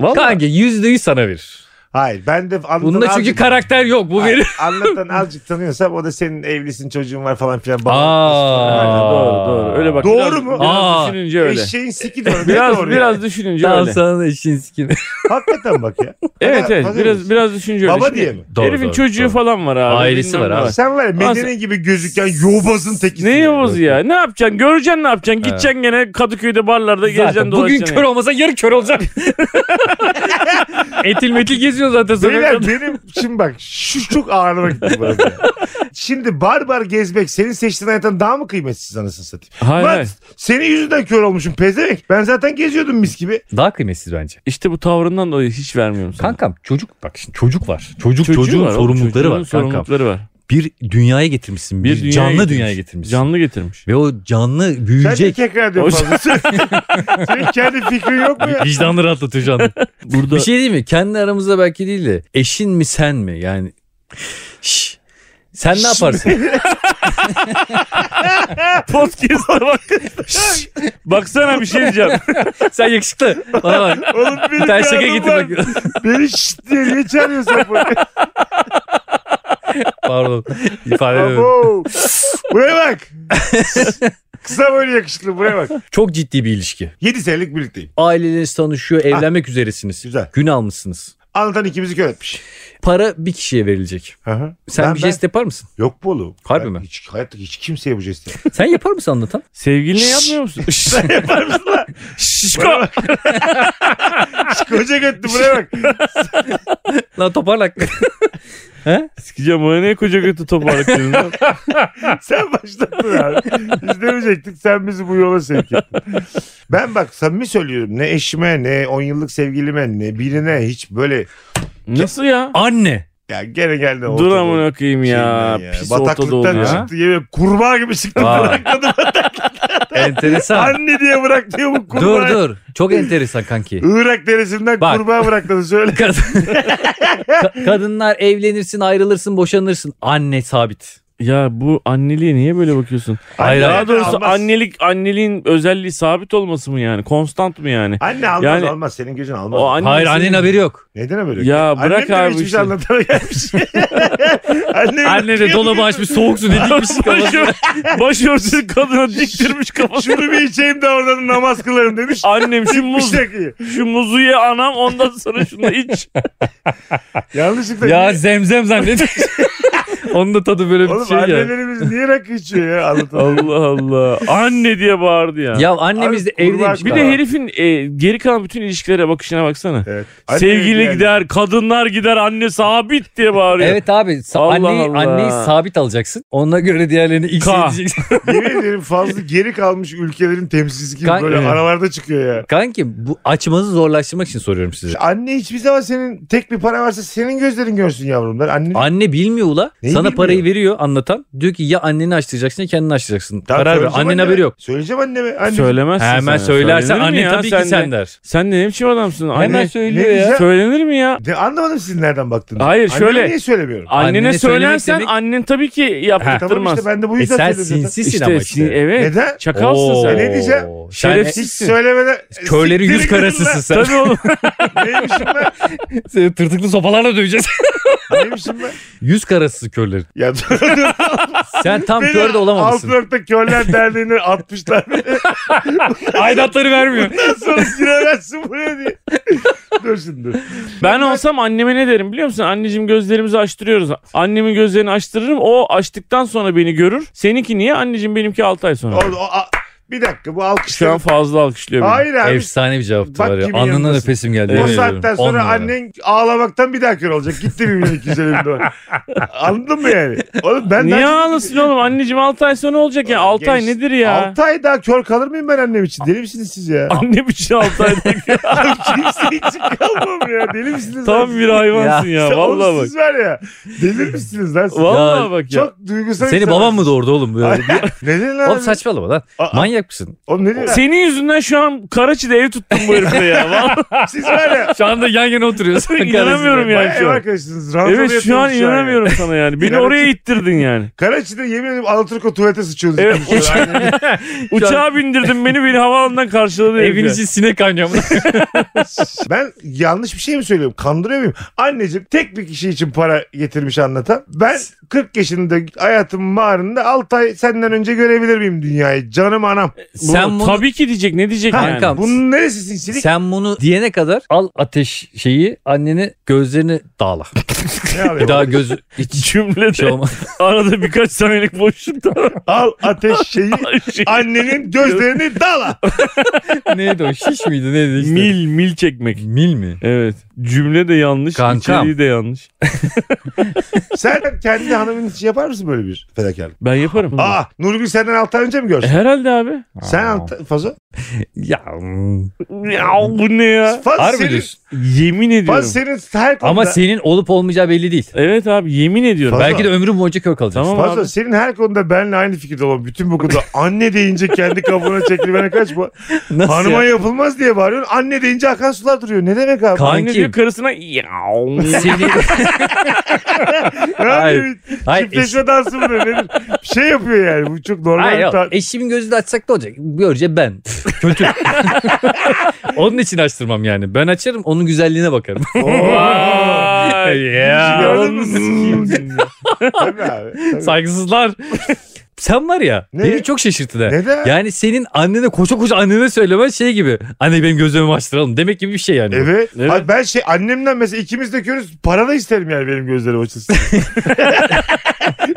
Speaker 3: Vallahi
Speaker 2: Kanka yüzde yüz sana verir.
Speaker 1: Hayır ben de anlatan
Speaker 2: Bunda çünkü
Speaker 1: azıcık-
Speaker 2: karakter yok bu
Speaker 1: Hayır,
Speaker 2: verir.
Speaker 1: Anlatan azıcık tanıyorsam o da senin evlisin çocuğun var falan filan.
Speaker 2: Aa.
Speaker 1: Aa.
Speaker 3: doğru doğru. Öyle bak.
Speaker 1: Doğru
Speaker 3: biraz-
Speaker 1: mu?
Speaker 3: Biraz
Speaker 2: Aa,
Speaker 3: düşününce öyle.
Speaker 1: Eşeğin siki doğru.
Speaker 3: Biraz
Speaker 1: doğru
Speaker 3: biraz
Speaker 1: yani.
Speaker 3: düşününce
Speaker 2: Tamam
Speaker 3: öyle.
Speaker 2: sana da işin sikini.
Speaker 1: Hakikaten bak ya.
Speaker 3: Evet
Speaker 1: Fazla-
Speaker 3: evet
Speaker 1: fazla
Speaker 3: biraz
Speaker 1: mısın?
Speaker 3: biraz düşünce öyle.
Speaker 1: Baba
Speaker 3: Şimdi
Speaker 1: diye mi?
Speaker 2: Doğru,
Speaker 3: Herifin
Speaker 2: doğru,
Speaker 3: çocuğu
Speaker 2: doğru.
Speaker 3: falan var abi.
Speaker 2: Ailesi
Speaker 3: bilmem
Speaker 2: var
Speaker 3: ne
Speaker 2: abi.
Speaker 1: Sen var ya
Speaker 3: Aa,
Speaker 1: medeni gibi gözüken yobazın tekisin.
Speaker 3: Ne Yavuz ya? Ne yapacaksın? Göreceksin ne yapacaksın?
Speaker 2: Evet.
Speaker 3: Gideceksin gene Kadıköy'de barlarda gezeceksin
Speaker 2: Zaten bugün
Speaker 3: dolaşacaksın.
Speaker 2: kör olmasa yarın kör olacak. Etil metil geziyor zaten sana.
Speaker 1: Beyler benim şimdi bak şu çok ağırlıma gitti bana. ya. Şimdi bar bar gezmek senin seçtiğin hayattan daha mı kıymetsiz anasını satayım?
Speaker 3: Hayır,
Speaker 1: Lan
Speaker 3: hayır.
Speaker 1: senin yüzünden kör olmuşum pezevenk. Ben zaten geziyordum mis gibi.
Speaker 2: Daha kıymetsiz bence.
Speaker 3: İşte bu tavrından dolayı hiç vermiyorum sana.
Speaker 2: Kankam çocuk bak şimdi çocuk var. Çocuk
Speaker 3: Çocuğu
Speaker 2: çocuğun
Speaker 3: var oğlum,
Speaker 2: sorumlulukları
Speaker 3: çocuğunun
Speaker 2: var kankam.
Speaker 3: sorumlulukları var.
Speaker 2: Bir dünyaya getirmişsin. Bir,
Speaker 3: Bir dünyaya
Speaker 2: canlı
Speaker 3: getirmiş.
Speaker 2: dünyaya getirmişsin.
Speaker 3: Canlı getirmiş.
Speaker 2: Ve o canlı
Speaker 1: Sen de
Speaker 2: büyüyecek.
Speaker 1: tekrar diyorum
Speaker 3: O-
Speaker 1: fazla. senin kendi fikrin yok mu ya?
Speaker 2: Vicdanını rahatlatıyor canlı.
Speaker 3: Burada
Speaker 2: Bir şey değil mi? Kendi aramızda belki değil de eşin mi sen mi? Yani Şş, sen ne yaparsın?
Speaker 3: podcast'a bak. Şşş, Baksana bir şey diyeceğim.
Speaker 2: sen yakışıklı. Bana bak.
Speaker 1: Oğlum benim
Speaker 2: Bir tane şaka
Speaker 1: yanım
Speaker 2: getir
Speaker 1: var.
Speaker 2: bak.
Speaker 1: Beni şşt diye niye çağırıyorsun bu?
Speaker 2: Pardon. İfade edemedim.
Speaker 1: Abo. Buraya bak. Kısa böyle yakışıklı buraya bak.
Speaker 2: Çok ciddi bir ilişki.
Speaker 1: 7 senelik birlikteyim.
Speaker 2: Aileleriniz tanışıyor, evlenmek üzeresiniz.
Speaker 1: Ah. Güzel.
Speaker 2: Gün almışsınız.
Speaker 1: Anlatan ikimizi kör etmiş.
Speaker 2: Para bir kişiye verilecek.
Speaker 1: Hı hı.
Speaker 2: Sen
Speaker 1: Ben-
Speaker 2: bir jest yapar mısın?
Speaker 1: ben- Yok bu oğlum.
Speaker 2: Harbi
Speaker 1: Ben
Speaker 2: mi?
Speaker 1: Hiç, hayatta hiç kimseye bu jesti
Speaker 2: Sen yapar mısın anlatan?
Speaker 3: Sevgilinle yapmıyor musun?
Speaker 1: Sen yapar mısın lan? Şişko. Şişkoca götlü buraya bak.
Speaker 2: Lan toparlak.
Speaker 3: Sikeceğim ona ne koca götü toparlık dedin lan?
Speaker 1: Sen başlattın abi. Biz demeyecektik sen bizi bu yola sevk ettin. Ben bak samimi söylüyorum ne eşime ne 10 yıllık sevgilime ne birine hiç böyle
Speaker 3: Nasıl ya?
Speaker 2: Anne.
Speaker 1: ya gene geldi.
Speaker 3: Dur
Speaker 1: ortada.
Speaker 3: amına koyayım ya.
Speaker 1: Şeyinden
Speaker 3: Pis Ortadoğu
Speaker 1: Bataklıktan
Speaker 3: ya.
Speaker 1: çıktı gibi kurbağa gibi çıktı
Speaker 2: Vay.
Speaker 1: bırakladı.
Speaker 2: Enteresan.
Speaker 1: Anne diye bırak diyor bu kurbağa.
Speaker 2: dur dur. Çok enteresan kanki.
Speaker 1: Irak derisinden
Speaker 2: Bak.
Speaker 1: kurbağa bırakladı söyle.
Speaker 2: Kad- Ka- kadınlar evlenirsin, ayrılırsın, boşanırsın. Anne sabit.
Speaker 3: Ya bu anneliğe niye böyle bakıyorsun?
Speaker 2: Hayır,
Speaker 3: Daha
Speaker 2: hayır.
Speaker 3: doğrusu
Speaker 1: almaz.
Speaker 3: annelik anneliğin özelliği sabit olması mı yani? Konstant mı yani?
Speaker 1: Anne almaz
Speaker 3: Yani-
Speaker 1: almaz senin gözün almaz.
Speaker 3: O anne
Speaker 2: Hayır annenin haberi yok.
Speaker 1: Neden böyle?
Speaker 3: Ya bırak
Speaker 1: Annem de
Speaker 3: abi
Speaker 1: hiçbir şey
Speaker 3: işte.
Speaker 1: anlatmaya gelmiş. Annem
Speaker 2: Anne de dolabı açmış soğuk su ne dikmiş kafasına.
Speaker 3: Başörtüsü kadına diktirmiş kafasını.
Speaker 1: Şunu bir içeyim de oradan namaz kılarım demiş.
Speaker 3: Annem şu
Speaker 1: Bir
Speaker 3: muz,
Speaker 1: şakayı.
Speaker 3: şu muzu ye anam ondan sonra şunu iç.
Speaker 1: Yanlışlıkla.
Speaker 2: ya zemzem zannet. Onun da tadı böyle bir
Speaker 1: Oğlum
Speaker 2: şey ya.
Speaker 1: annelerimiz niye rakı içiyor ya anlatalım.
Speaker 3: Allah Allah. Anne diye bağırdı ya.
Speaker 2: Ya annemiz de
Speaker 1: Abi,
Speaker 2: evliymiş.
Speaker 1: kurbağa-
Speaker 3: bir
Speaker 2: galiba.
Speaker 3: de herifin e, geri kalan bütün ilişkilere bakışına baksana.
Speaker 1: Evet.
Speaker 3: Sevgili
Speaker 1: yani.
Speaker 3: gider, kadınlar gider, anne sabit diye bağırıyor.
Speaker 2: Evet abi sa-
Speaker 3: Allah
Speaker 2: anneyi,
Speaker 3: Allah.
Speaker 2: anneyi sabit alacaksın. Onunla göre diğerlerini ilk
Speaker 3: Ka.
Speaker 2: edeceksin.
Speaker 1: Yemin ederim fazla geri kalmış ülkelerin temsilcisi gibi
Speaker 2: Kanka-
Speaker 1: böyle
Speaker 2: Evet.
Speaker 1: aralarda çıkıyor ya.
Speaker 2: Kanki bu açmanızı zorlaştırmak için soruyorum size.
Speaker 1: Anne hiçbir zaman senin tek bir para varsa senin gözlerin görsün yavrumlar. Anne
Speaker 2: Anne bilmiyor ula.
Speaker 1: Neyi
Speaker 2: Sana
Speaker 1: bilmiyor?
Speaker 2: parayı veriyor anlatan. Diyor ki ya anneni açtıracaksın ya kendini açtıracaksın.
Speaker 1: Tamam,
Speaker 2: Karar ver.
Speaker 1: söyleyeceğim
Speaker 2: Annen
Speaker 1: anneme.
Speaker 2: haberi yok.
Speaker 1: Söyleyeceğim anneme. Anne,
Speaker 3: Söylemezsin
Speaker 2: Hemen
Speaker 3: sen.
Speaker 2: söylersen
Speaker 3: Söylenir mi
Speaker 2: anne
Speaker 3: ya?
Speaker 2: tabii
Speaker 3: Sen
Speaker 2: ki
Speaker 3: de-
Speaker 2: sen der.
Speaker 3: Sen de ne biçim adamsın? Anne,
Speaker 2: Hemen söylüyor
Speaker 1: ne
Speaker 2: ya.
Speaker 1: güzel.
Speaker 3: Söylenir mi ya?
Speaker 1: De, anlamadım sizin nereden baktığını.
Speaker 3: Hayır,
Speaker 1: Anneme
Speaker 3: şöyle-
Speaker 1: niye söylemiyorum? E,
Speaker 3: Annene,
Speaker 2: Annene söylemek
Speaker 3: söylersen
Speaker 2: demek-
Speaker 3: annen tabii ki
Speaker 1: Tamam
Speaker 3: yaptırmaz.
Speaker 1: işte ben de bu
Speaker 2: E
Speaker 1: yüzden
Speaker 2: sen
Speaker 1: söyledim zaten.
Speaker 2: sinsisin
Speaker 3: İşte
Speaker 2: ama
Speaker 3: sin-
Speaker 2: işte.
Speaker 3: evet.
Speaker 1: Neden?
Speaker 3: Çakalsın
Speaker 2: Oo,
Speaker 1: E
Speaker 3: sen.
Speaker 1: ne diyeceğim?
Speaker 2: sen
Speaker 1: Hiç
Speaker 3: Şerefsiz.
Speaker 1: söylemeden.
Speaker 2: Körlerin
Speaker 1: Siktirin
Speaker 2: yüz
Speaker 1: gidin
Speaker 2: karasısın
Speaker 1: lan.
Speaker 2: sen.
Speaker 3: Tabii oğlum.
Speaker 1: Neymişim ben?
Speaker 2: Seni e, tırtıklı sopalarla döveceğiz.
Speaker 1: Neymişim ben?
Speaker 2: yüz karasısı körlerin.
Speaker 1: Ya dur dur.
Speaker 2: Sen tam
Speaker 1: Beni
Speaker 2: kör de olamamışsın.
Speaker 1: Altınok'ta Körler Derneği'ne atmışlar.
Speaker 2: Aidatları vermiyor.
Speaker 1: Ondan sonra giremezsin buraya diye. dur şimdi.
Speaker 3: Ben olsam anneme ne derim biliyor musun? Anneciğim gözlerimizi açtırıyoruz. Annemin gözlerini açtırırım. O açtıktan sonra beni görür. Seninki niye? Anneciğim benimki 6 ay sonra.
Speaker 1: Oğlum, o, a- bir dakika bu
Speaker 3: Şu an
Speaker 1: alkışlar.
Speaker 3: fazla alkışlıyor beni.
Speaker 1: Hayır abi.
Speaker 2: Efsane bir cevaptı
Speaker 1: Bak
Speaker 2: var ya.
Speaker 1: kimin
Speaker 2: Alnından
Speaker 1: yanındasın.
Speaker 2: öpesim geldi.
Speaker 1: O
Speaker 2: yemin ediyorum.
Speaker 1: saatten
Speaker 2: On
Speaker 1: sonra
Speaker 2: numara.
Speaker 1: annen ağlamaktan bir daha kör olacak. Gitti bir milyon iki yüz elli bin dolar. Anladın mı yani? Oğlum ben
Speaker 3: Niye ağlasın oğlum? Anneciğim 6 ay sonra olacak ya. 6 ay nedir ya?
Speaker 1: 6 ay daha kör kalır mıyım ben annem için? Deli misiniz siz ya?
Speaker 3: Annem için 6 şey ay.
Speaker 1: Abi kimse için kalmam ya. Deli misiniz?
Speaker 3: Tam bir hayvansın ya.
Speaker 1: ya.
Speaker 3: Vallahi bak.
Speaker 1: Siz var ya. Delir misiniz lan siz?
Speaker 3: Vallahi bak ya.
Speaker 1: Çok duygusal
Speaker 2: Seni
Speaker 1: insan-
Speaker 2: baban mı doğurdu oğlum? Böyle?
Speaker 1: Neden lan?
Speaker 2: oğlum saçmalama lan.
Speaker 1: Aa,
Speaker 2: Manyak manyak mısın?
Speaker 1: Oğlum ne diyor?
Speaker 3: Senin yüzünden şu an Karaçi'de ev tuttum bu herifle ya. Vallahi
Speaker 1: Siz var ya.
Speaker 2: Şu anda yan yana oturuyorsun.
Speaker 3: inanamıyorum
Speaker 2: Kardeşim.
Speaker 1: Bayağı
Speaker 3: yani
Speaker 1: ev
Speaker 3: şu an.
Speaker 1: arkadaşısınız. Ranzalı
Speaker 3: Evet şu an
Speaker 1: yapıyorsunuz
Speaker 3: inanamıyorum sana yani. Beni
Speaker 1: İnanamıyorum.
Speaker 3: oraya ittirdin yani.
Speaker 1: Karaçi'de yemin ederim Alaturka tuvalete sıçıyorsunuz.
Speaker 3: Evet,
Speaker 1: ikiniz böyle. Aynen.
Speaker 3: Uçağa bindirdin beni beni havaalanından karşıladı. herif
Speaker 2: Evin
Speaker 3: ya.
Speaker 2: içi sinek kaynıyor.
Speaker 1: ben yanlış bir şey mi söylüyorum? Kandırıyor muyum? Anneciğim tek bir kişi için para getirmiş anlatan. Ben 40 yaşında hayatımın bağrında 6 ay senden önce görebilir miyim dünyayı? Canım anam.
Speaker 3: Bu-
Speaker 2: Sen bunu,
Speaker 3: Tabii ki diyecek ne diyecek
Speaker 1: Ha,
Speaker 3: yani.
Speaker 2: kankam.
Speaker 1: Bunun neresi sinsilik?
Speaker 2: sen bunu diyene kadar al ateş şeyi anneni gözlerini dağla.
Speaker 1: Ne yapıyor?
Speaker 2: Bir daha gözü hiç
Speaker 3: Cümlede
Speaker 2: şey olmaz.
Speaker 3: arada birkaç saniyelik boşlukta şey,
Speaker 1: Al ateş şeyi annenin gözlerini dala.
Speaker 2: Neydi o şiş miydi neydi işte.
Speaker 3: mil mil çekmek.
Speaker 2: Mil mi?
Speaker 3: Evet. Cümle de yanlış,
Speaker 2: Kankam.
Speaker 3: içeriği de yanlış.
Speaker 1: Sen kendi hanımın için yapar mısın böyle bir fedakarlık?
Speaker 3: Ben yaparım.
Speaker 1: Aa Nurgül senden 6 ay önce mi
Speaker 3: E,
Speaker 1: gördün?
Speaker 3: Herhalde abi.
Speaker 1: Sen
Speaker 2: Aa.
Speaker 1: altı, Fazo?
Speaker 2: Ya mm,
Speaker 3: Ya bu ne ya?
Speaker 1: Faz
Speaker 2: harbi
Speaker 1: senin,
Speaker 2: diyorsun.
Speaker 3: Yemin ediyorum.
Speaker 1: Faz senin her konuda...
Speaker 2: Ama senin olup olmayacağı belli değil.
Speaker 3: Evet abi yemin ediyorum.
Speaker 1: Faz-
Speaker 2: Belki de ömrün boyunca kör kalacaksın.
Speaker 3: Tamam.
Speaker 1: Fazla
Speaker 3: abi.
Speaker 1: senin her konuda benimle aynı fikirde olan bütün bu konuda anne deyince kendi kabuğuna çekilmene kaçma.
Speaker 2: Nasıl
Speaker 1: Hanıma
Speaker 2: ya?
Speaker 1: yapılmaz diye bağırıyorsun. Anne deyince akan sular duruyor. Ne demek abi?
Speaker 2: Kan-
Speaker 3: Anne
Speaker 2: Kankim.
Speaker 3: diyor karısına yav.
Speaker 2: Seni,
Speaker 1: Ne
Speaker 2: Hayır.
Speaker 1: yapıyor?
Speaker 2: hayır, eş,
Speaker 1: Çiftleşme dansı mı ne? Nedir? Bir şey yapıyor yani. Bu çok normal.
Speaker 2: hayır,
Speaker 1: bir
Speaker 2: yok.
Speaker 1: ta-
Speaker 2: eşimin gözünü açsak ne olacak? Görece ben. Kötü. onun için açtırmam yani. Ben açarım onun güzelliğine bakarım.
Speaker 3: Vay.
Speaker 2: ya.
Speaker 1: Gördün mü?
Speaker 3: Hmm.
Speaker 1: Tabii abi. tabii.
Speaker 2: Saygısızlar. Sen var ya
Speaker 1: Ne?
Speaker 2: beni çok şaşırttı da.
Speaker 1: Neden?
Speaker 2: Yani senin annene koşa koşa annene söylemen şey gibi. Anne benim gözlerimi açtıralım demek gibi bir şey yani.
Speaker 1: Evet.
Speaker 3: Evet.
Speaker 1: Abi ben şey annemden mesela ikimiz de körüz. Para da isterim yani benim gözlerim açılsın.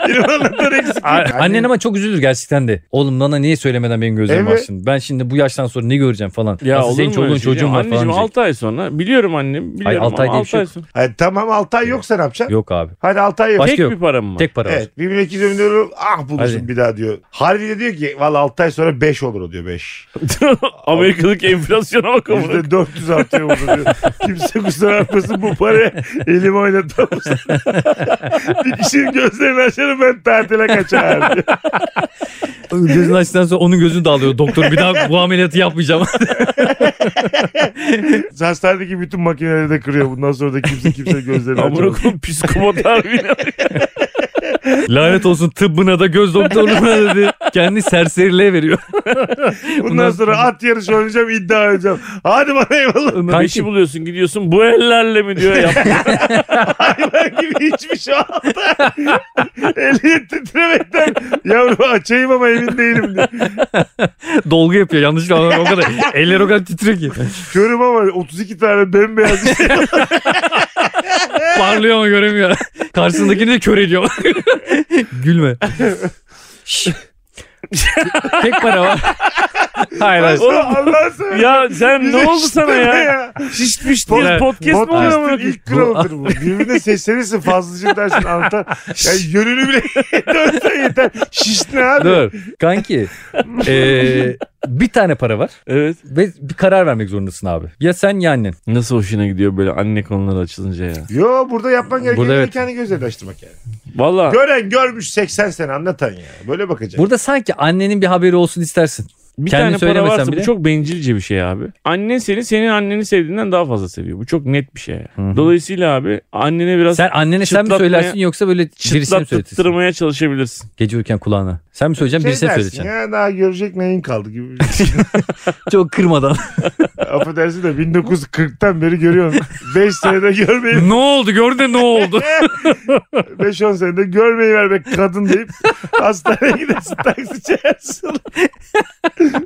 Speaker 1: Benim anlatan eksik.
Speaker 2: A- annen ama çok üzülür gerçekten de. Oğlum bana niye söylemeden benim gözlerimi
Speaker 1: Evet.
Speaker 2: açtın? Ben şimdi bu yaştan sonra ne göreceğim falan.
Speaker 3: Ya
Speaker 2: Nasıl
Speaker 3: olur
Speaker 2: senin
Speaker 3: mu öyle
Speaker 2: çoluğun
Speaker 3: şey?
Speaker 2: çocuğun var falan
Speaker 3: Anneciğim
Speaker 2: diyecek.
Speaker 3: 6 ay sonra. Biliyorum annem. Biliyorum
Speaker 2: Hayır, altı ay
Speaker 3: ama
Speaker 2: diye bir
Speaker 3: altı
Speaker 2: şey
Speaker 3: ay
Speaker 2: yok.
Speaker 3: sonra.
Speaker 1: Hayır, tamam 6 ay yoksa ne yapacaksın?
Speaker 2: Yok abi.
Speaker 1: Hadi 6 ay yok.
Speaker 2: Başka
Speaker 3: Tek
Speaker 2: yok.
Speaker 3: bir param var.
Speaker 2: Tek para var.
Speaker 1: Evet. 1200 euro ah bulursun
Speaker 2: Hadi.
Speaker 1: bir daha diyor. Harbi de diyor ki valla 6 ay sonra 5 olur o diyor 5.
Speaker 3: Amerikalık enflasyona bak amına.
Speaker 1: Bizde 400 artıyor burada diyor. Kimse kusura bakmasın bu paraya elimi oynatamazsın. bir kişinin gözlerini açarım ben tatile kaçarım diyor.
Speaker 2: Gözünü açtıktan sonra onun gözünü dağılıyor. Doktor bir daha bu ameliyatı yapmayacağım.
Speaker 1: Hastanedeki bütün makineleri de kırıyor. Bundan sonra da kimse kimse gözlerini
Speaker 3: Amına
Speaker 1: açamaz.
Speaker 3: koyayım psikopat abi.
Speaker 2: Lanet olsun tıbbına da göz doktorluğuna dedi. Kendi serseriliğe veriyor.
Speaker 1: Bundan sonra at yarışı oynayacağım iddia oynayacağım. Hadi bana eyvallah.
Speaker 2: Kankim.
Speaker 3: Bir şey buluyorsun gidiyorsun bu ellerle mi diyor yap.
Speaker 1: Hayvan gibi hiçbir şey altta. Elini titremekten yavrum açayım ama emin değilim diyor.
Speaker 2: Dolgu yapıyor yanlışlıkla o kadar. Eller o kadar titriyor ki.
Speaker 1: Körüm ama 32 tane bembeyaz işte.
Speaker 2: Parlıyor ama göremiyor. Karşısındakini de kör ediyor. Gülme. Şş. Tek para var. Hayır hayır.
Speaker 1: Oğlum Allah'ını seversen.
Speaker 3: ya sen ne
Speaker 1: Bize
Speaker 3: oldu
Speaker 1: işte
Speaker 3: sana
Speaker 1: ne
Speaker 3: ya?
Speaker 1: Şişmiş
Speaker 3: Biz
Speaker 2: Ya,
Speaker 3: podcast mi oluyor amına
Speaker 1: Podcast'ın
Speaker 3: koyayım?
Speaker 1: ilk kralıdır bu. Birbirine seslenirsin fazlaca dersin anlatan. Yani yönünü bile dönsen yeter. Şiş ne abi?
Speaker 2: Dur. Kanki. eee, bir tane para var
Speaker 3: Evet.
Speaker 2: ve bir karar vermek zorundasın abi. Ya sen ya annen.
Speaker 3: Nasıl hoşuna gidiyor böyle anne konuları açılınca ya?
Speaker 1: Yo burada yapman gereken şey
Speaker 2: Burada evet.
Speaker 1: kendi gözlerini açtırmak yani.
Speaker 3: Valla
Speaker 1: Gören görmüş 80 sene anlatan ya. Böyle bakacak.
Speaker 2: Burada sanki annenin bir haberi olsun istersin.
Speaker 3: bir
Speaker 2: Kendin
Speaker 3: tane para
Speaker 2: söylemesen
Speaker 3: varsa
Speaker 2: bile.
Speaker 3: bu çok bencilce bir şey abi. Annen seni senin anneni sevdiğinden daha fazla seviyor. Bu çok net bir şey. ya.
Speaker 2: Hı hı.
Speaker 3: Dolayısıyla abi annene biraz
Speaker 2: Sen annene sen mi
Speaker 3: Çıtlatmaya-
Speaker 2: söylersin yoksa böyle birisine mi söyletirsin?
Speaker 3: çıtlattırmaya çalışabilirsin.
Speaker 2: Gece uyurken kulağına. Sen mi söyleyeceksin
Speaker 1: Şey
Speaker 2: birisine mi
Speaker 1: dersin,
Speaker 2: söyleyeceksin?
Speaker 1: Ya daha görecek neyin kaldı gibi. bir şey.
Speaker 2: Çok kırmadan.
Speaker 1: Affedersin de 1940'tan beri görüyorum. 5 senede görmeyi
Speaker 2: ne oldu gördün de ne oldu?
Speaker 1: 5-10 senede görmeyi ver be kadın deyip hastaneye gidersin taksi çağırsın.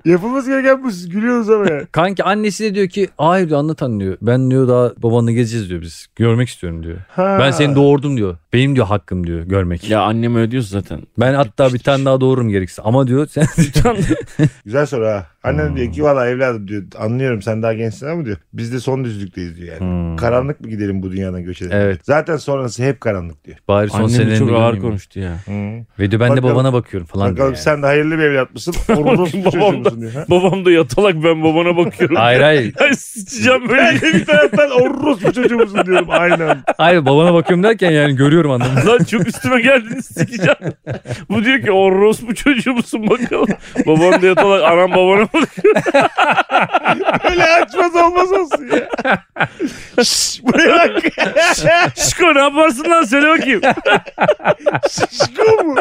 Speaker 1: Yapılması gereken bu siz gülüyorsunuz ama ya.
Speaker 2: Kanki annesi de diyor ki hayır diyor anlat anne diyor. Ben diyor daha babanla gezeceğiz diyor biz. Görmek istiyorum diyor.
Speaker 1: Ha.
Speaker 2: Ben seni doğurdum diyor. Benim diyor hakkım diyor görmek.
Speaker 3: Ya annem ödüyor zaten.
Speaker 2: Ben hatta bir tane daha doğururum gerekirse. Ama diyor sen
Speaker 1: Güzel soru ha. Annem diyor
Speaker 2: Hmm.
Speaker 1: ki valla evladım diyor anlıyorum sen daha gençsin ama diyor biz de son düzlükteyiz diyor yani.
Speaker 2: Hmm.
Speaker 1: Karanlık mı gidelim bu dünyadan göç edelim?
Speaker 2: Evet.
Speaker 1: Zaten sonrası hep karanlık diyor.
Speaker 2: bari son
Speaker 3: Annem de
Speaker 2: senelerinde
Speaker 3: çok ağır
Speaker 2: görmeyeyim.
Speaker 3: konuştu ya.
Speaker 1: Hı.
Speaker 2: Ve diyor ben de
Speaker 1: Bakalım-
Speaker 2: babana bakıyorum falan diyor.
Speaker 1: Bakalım
Speaker 2: yani.
Speaker 1: sen de hayırlı bir evlat mısın? Orospu çocuğu
Speaker 3: Babam da-
Speaker 1: musun diyor. Ha?
Speaker 3: Babam da yatalak ben babana bakıyorum.
Speaker 2: Hayır hayır.
Speaker 3: Ay sıçacağım böyle. şey.
Speaker 1: Ben de bir taraftan orospu çocuğu musun diyorum aynen.
Speaker 2: Hayır babana bakıyorum derken yani görüyor seviyorum anlamında.
Speaker 3: Lan çok üstüme geldiniz sikeceğim. Bu diyor ki orospu çocuğu musun bakalım. Babam diye tolak anam babana bak.
Speaker 1: Öyle açmaz olmaz olsun ya. Şşş, buraya bak.
Speaker 3: Şiko ne yaparsın lan söyle bakayım.
Speaker 1: Şişko mu?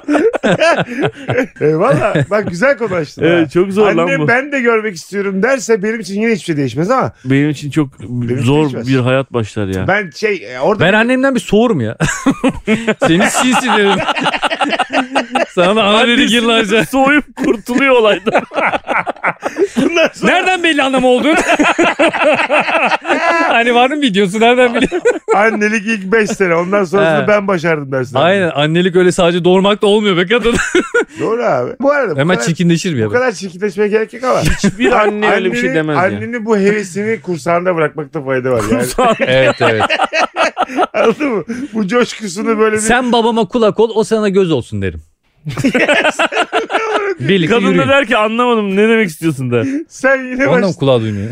Speaker 1: Eyvallah. Bak güzel konu açtın ha.
Speaker 3: Evet, Ee, çok zor lan
Speaker 1: Annem
Speaker 3: bu.
Speaker 1: ben de görmek istiyorum derse benim için yine hiçbir şey değişmez ama
Speaker 3: Benim için çok
Speaker 1: için
Speaker 3: zor
Speaker 1: değişmez.
Speaker 3: bir hayat başlar ya.
Speaker 1: ben şey e, orada
Speaker 2: Ben annemden bir soğurum ya. Seni sinsi dedim. Sana da ana dedik yıllarca.
Speaker 3: Soğuyup kurtuluyor olaydan.
Speaker 1: bundan sonra
Speaker 2: Nereden belli anlam oldun? hani var mı videosu nereden biliyorsun?
Speaker 1: annelik ilk 5 sene ondan sonrasını
Speaker 2: He.
Speaker 1: ben başardım dersine.
Speaker 2: Aynen annelik öyle sadece doğurmak da olmuyor be kadın.
Speaker 1: Doğru abi. Bu arada bu
Speaker 2: Hemen
Speaker 1: kadar,
Speaker 2: çirkinleşir mi
Speaker 1: bu
Speaker 2: ya?
Speaker 1: kadar çirkinleşmeye gerek yok ama.
Speaker 3: Hiçbir anne öyle bir şey
Speaker 1: Annenin-
Speaker 3: demez ya.
Speaker 1: Annenin bu hevesini kursağında bırakmakta fayda var yani.
Speaker 2: Evet evet.
Speaker 1: Anladın mı? Bu coşkusunu böyle bir...
Speaker 2: Sen babama kulak ol o sana göz olsun derim. Birlikte
Speaker 3: Kadın da
Speaker 2: yürüyün.
Speaker 3: der ki anlamadım ne demek istiyorsun der.
Speaker 1: Sen yine
Speaker 2: Ondan
Speaker 1: başlıyorsun.
Speaker 2: kulağı duymuyor.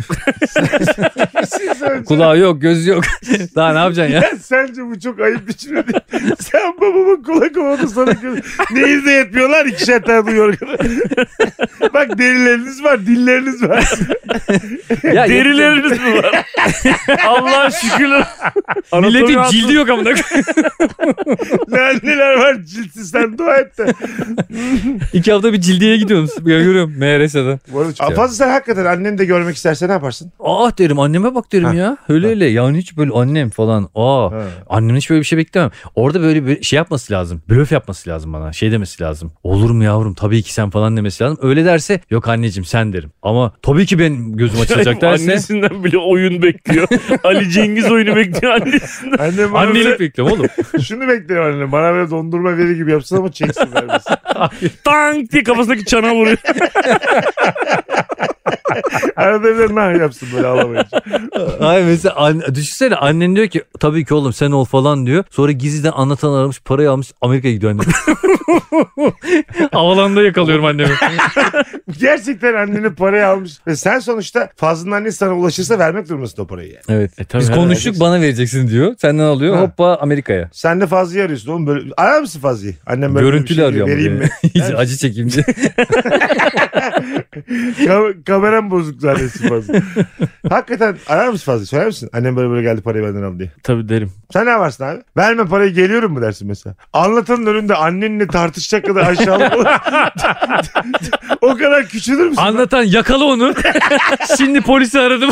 Speaker 2: Kulağı yok gözü yok. Daha ne yapacaksın ya?
Speaker 1: Ya sence bu çok ayıp biçimde değil. Sen babamın kulak oldu sana göre. Neyiz de yetmiyorlar ikişer tane duyuyor. Bak derileriniz var, dilleriniz var.
Speaker 2: ya
Speaker 3: Derileriniz mi var? Allah şükürler.
Speaker 2: Milletin
Speaker 3: Anatomi
Speaker 2: cildi yok amına.
Speaker 1: Neler var cilsiz sen dua et de.
Speaker 2: İki hafta bir cildiye gidiyorum. Ya Yürüyorum MRS'den.
Speaker 1: Bu arada çok- Fazla sen hakikaten anneni de görmek isterse ne yaparsın?
Speaker 2: Ah derim anneme bak derim ya. Öyle öyle yani hiç böyle annem falan. Aa.
Speaker 1: Ha.
Speaker 2: Annemin hiç böyle bir şey beklemem. Orada böyle bir şey yapması lazım. Blöf yapması lazım bana. Şey demesi lazım. Olur mu yavrum tabii ki sen falan demesi lazım. Öyle derse yok anneciğim sen derim. Ama tabii ki benim gözüm açılacak derse.
Speaker 3: Annesinden bile oyun bekliyor. Ali Cengiz oyunu bekliyor Hani annesinden.
Speaker 1: Annem bana
Speaker 2: Annelik bekliyorum oğlum.
Speaker 1: böyle- şunu bekliyorum annem. Bana böyle dondurma verir gibi yapsın ama çeksin vermesin.
Speaker 3: Tank diye kafasındaki çana vuruyor.
Speaker 1: Arada bir de nah yapsın böyle ağlamayınca.
Speaker 2: Ay mesela an- düşünsene annen diyor ki tabii ki oğlum sen ol falan diyor. Sonra gizliden anlatan aramış parayı almış Amerika'ya gidiyor annem. Havalanda yakalıyorum annemi.
Speaker 1: Gerçekten annenin parayı almış. Ve sen sonuçta Fazlı'nın annesi sana ulaşırsa vermek durumundasın o parayı yani.
Speaker 2: Evet. Biz
Speaker 3: herhalde.
Speaker 2: konuştuk bana vereceksin diyor. Senden alıyor
Speaker 1: Ha.
Speaker 2: hoppa Amerika'ya.
Speaker 1: Sen de Fazlı'yı arıyorsun oğlum. Böyle... Arar mısın Fazlı'yı? Annem böyle bir
Speaker 2: Görüntülü
Speaker 1: şey diyor,
Speaker 2: arıyor.
Speaker 1: Vereyim mi?
Speaker 2: ama Hiç acı çekeyim diye.
Speaker 1: Ka- kameram bozuk zannetsin fazla. Hakikaten arar mısın fazla? Söyler misin? Annem böyle böyle geldi parayı benden aldı diye.
Speaker 3: Tabii derim.
Speaker 1: Sen ne yaparsın abi? Verme parayı geliyorum mu dersin mesela? Anlatanın önünde annenle tartışacak kadar aşağılık olur. o kadar küçülür müsün?
Speaker 2: Anlatan yakala onu. Şimdi polisi aradım.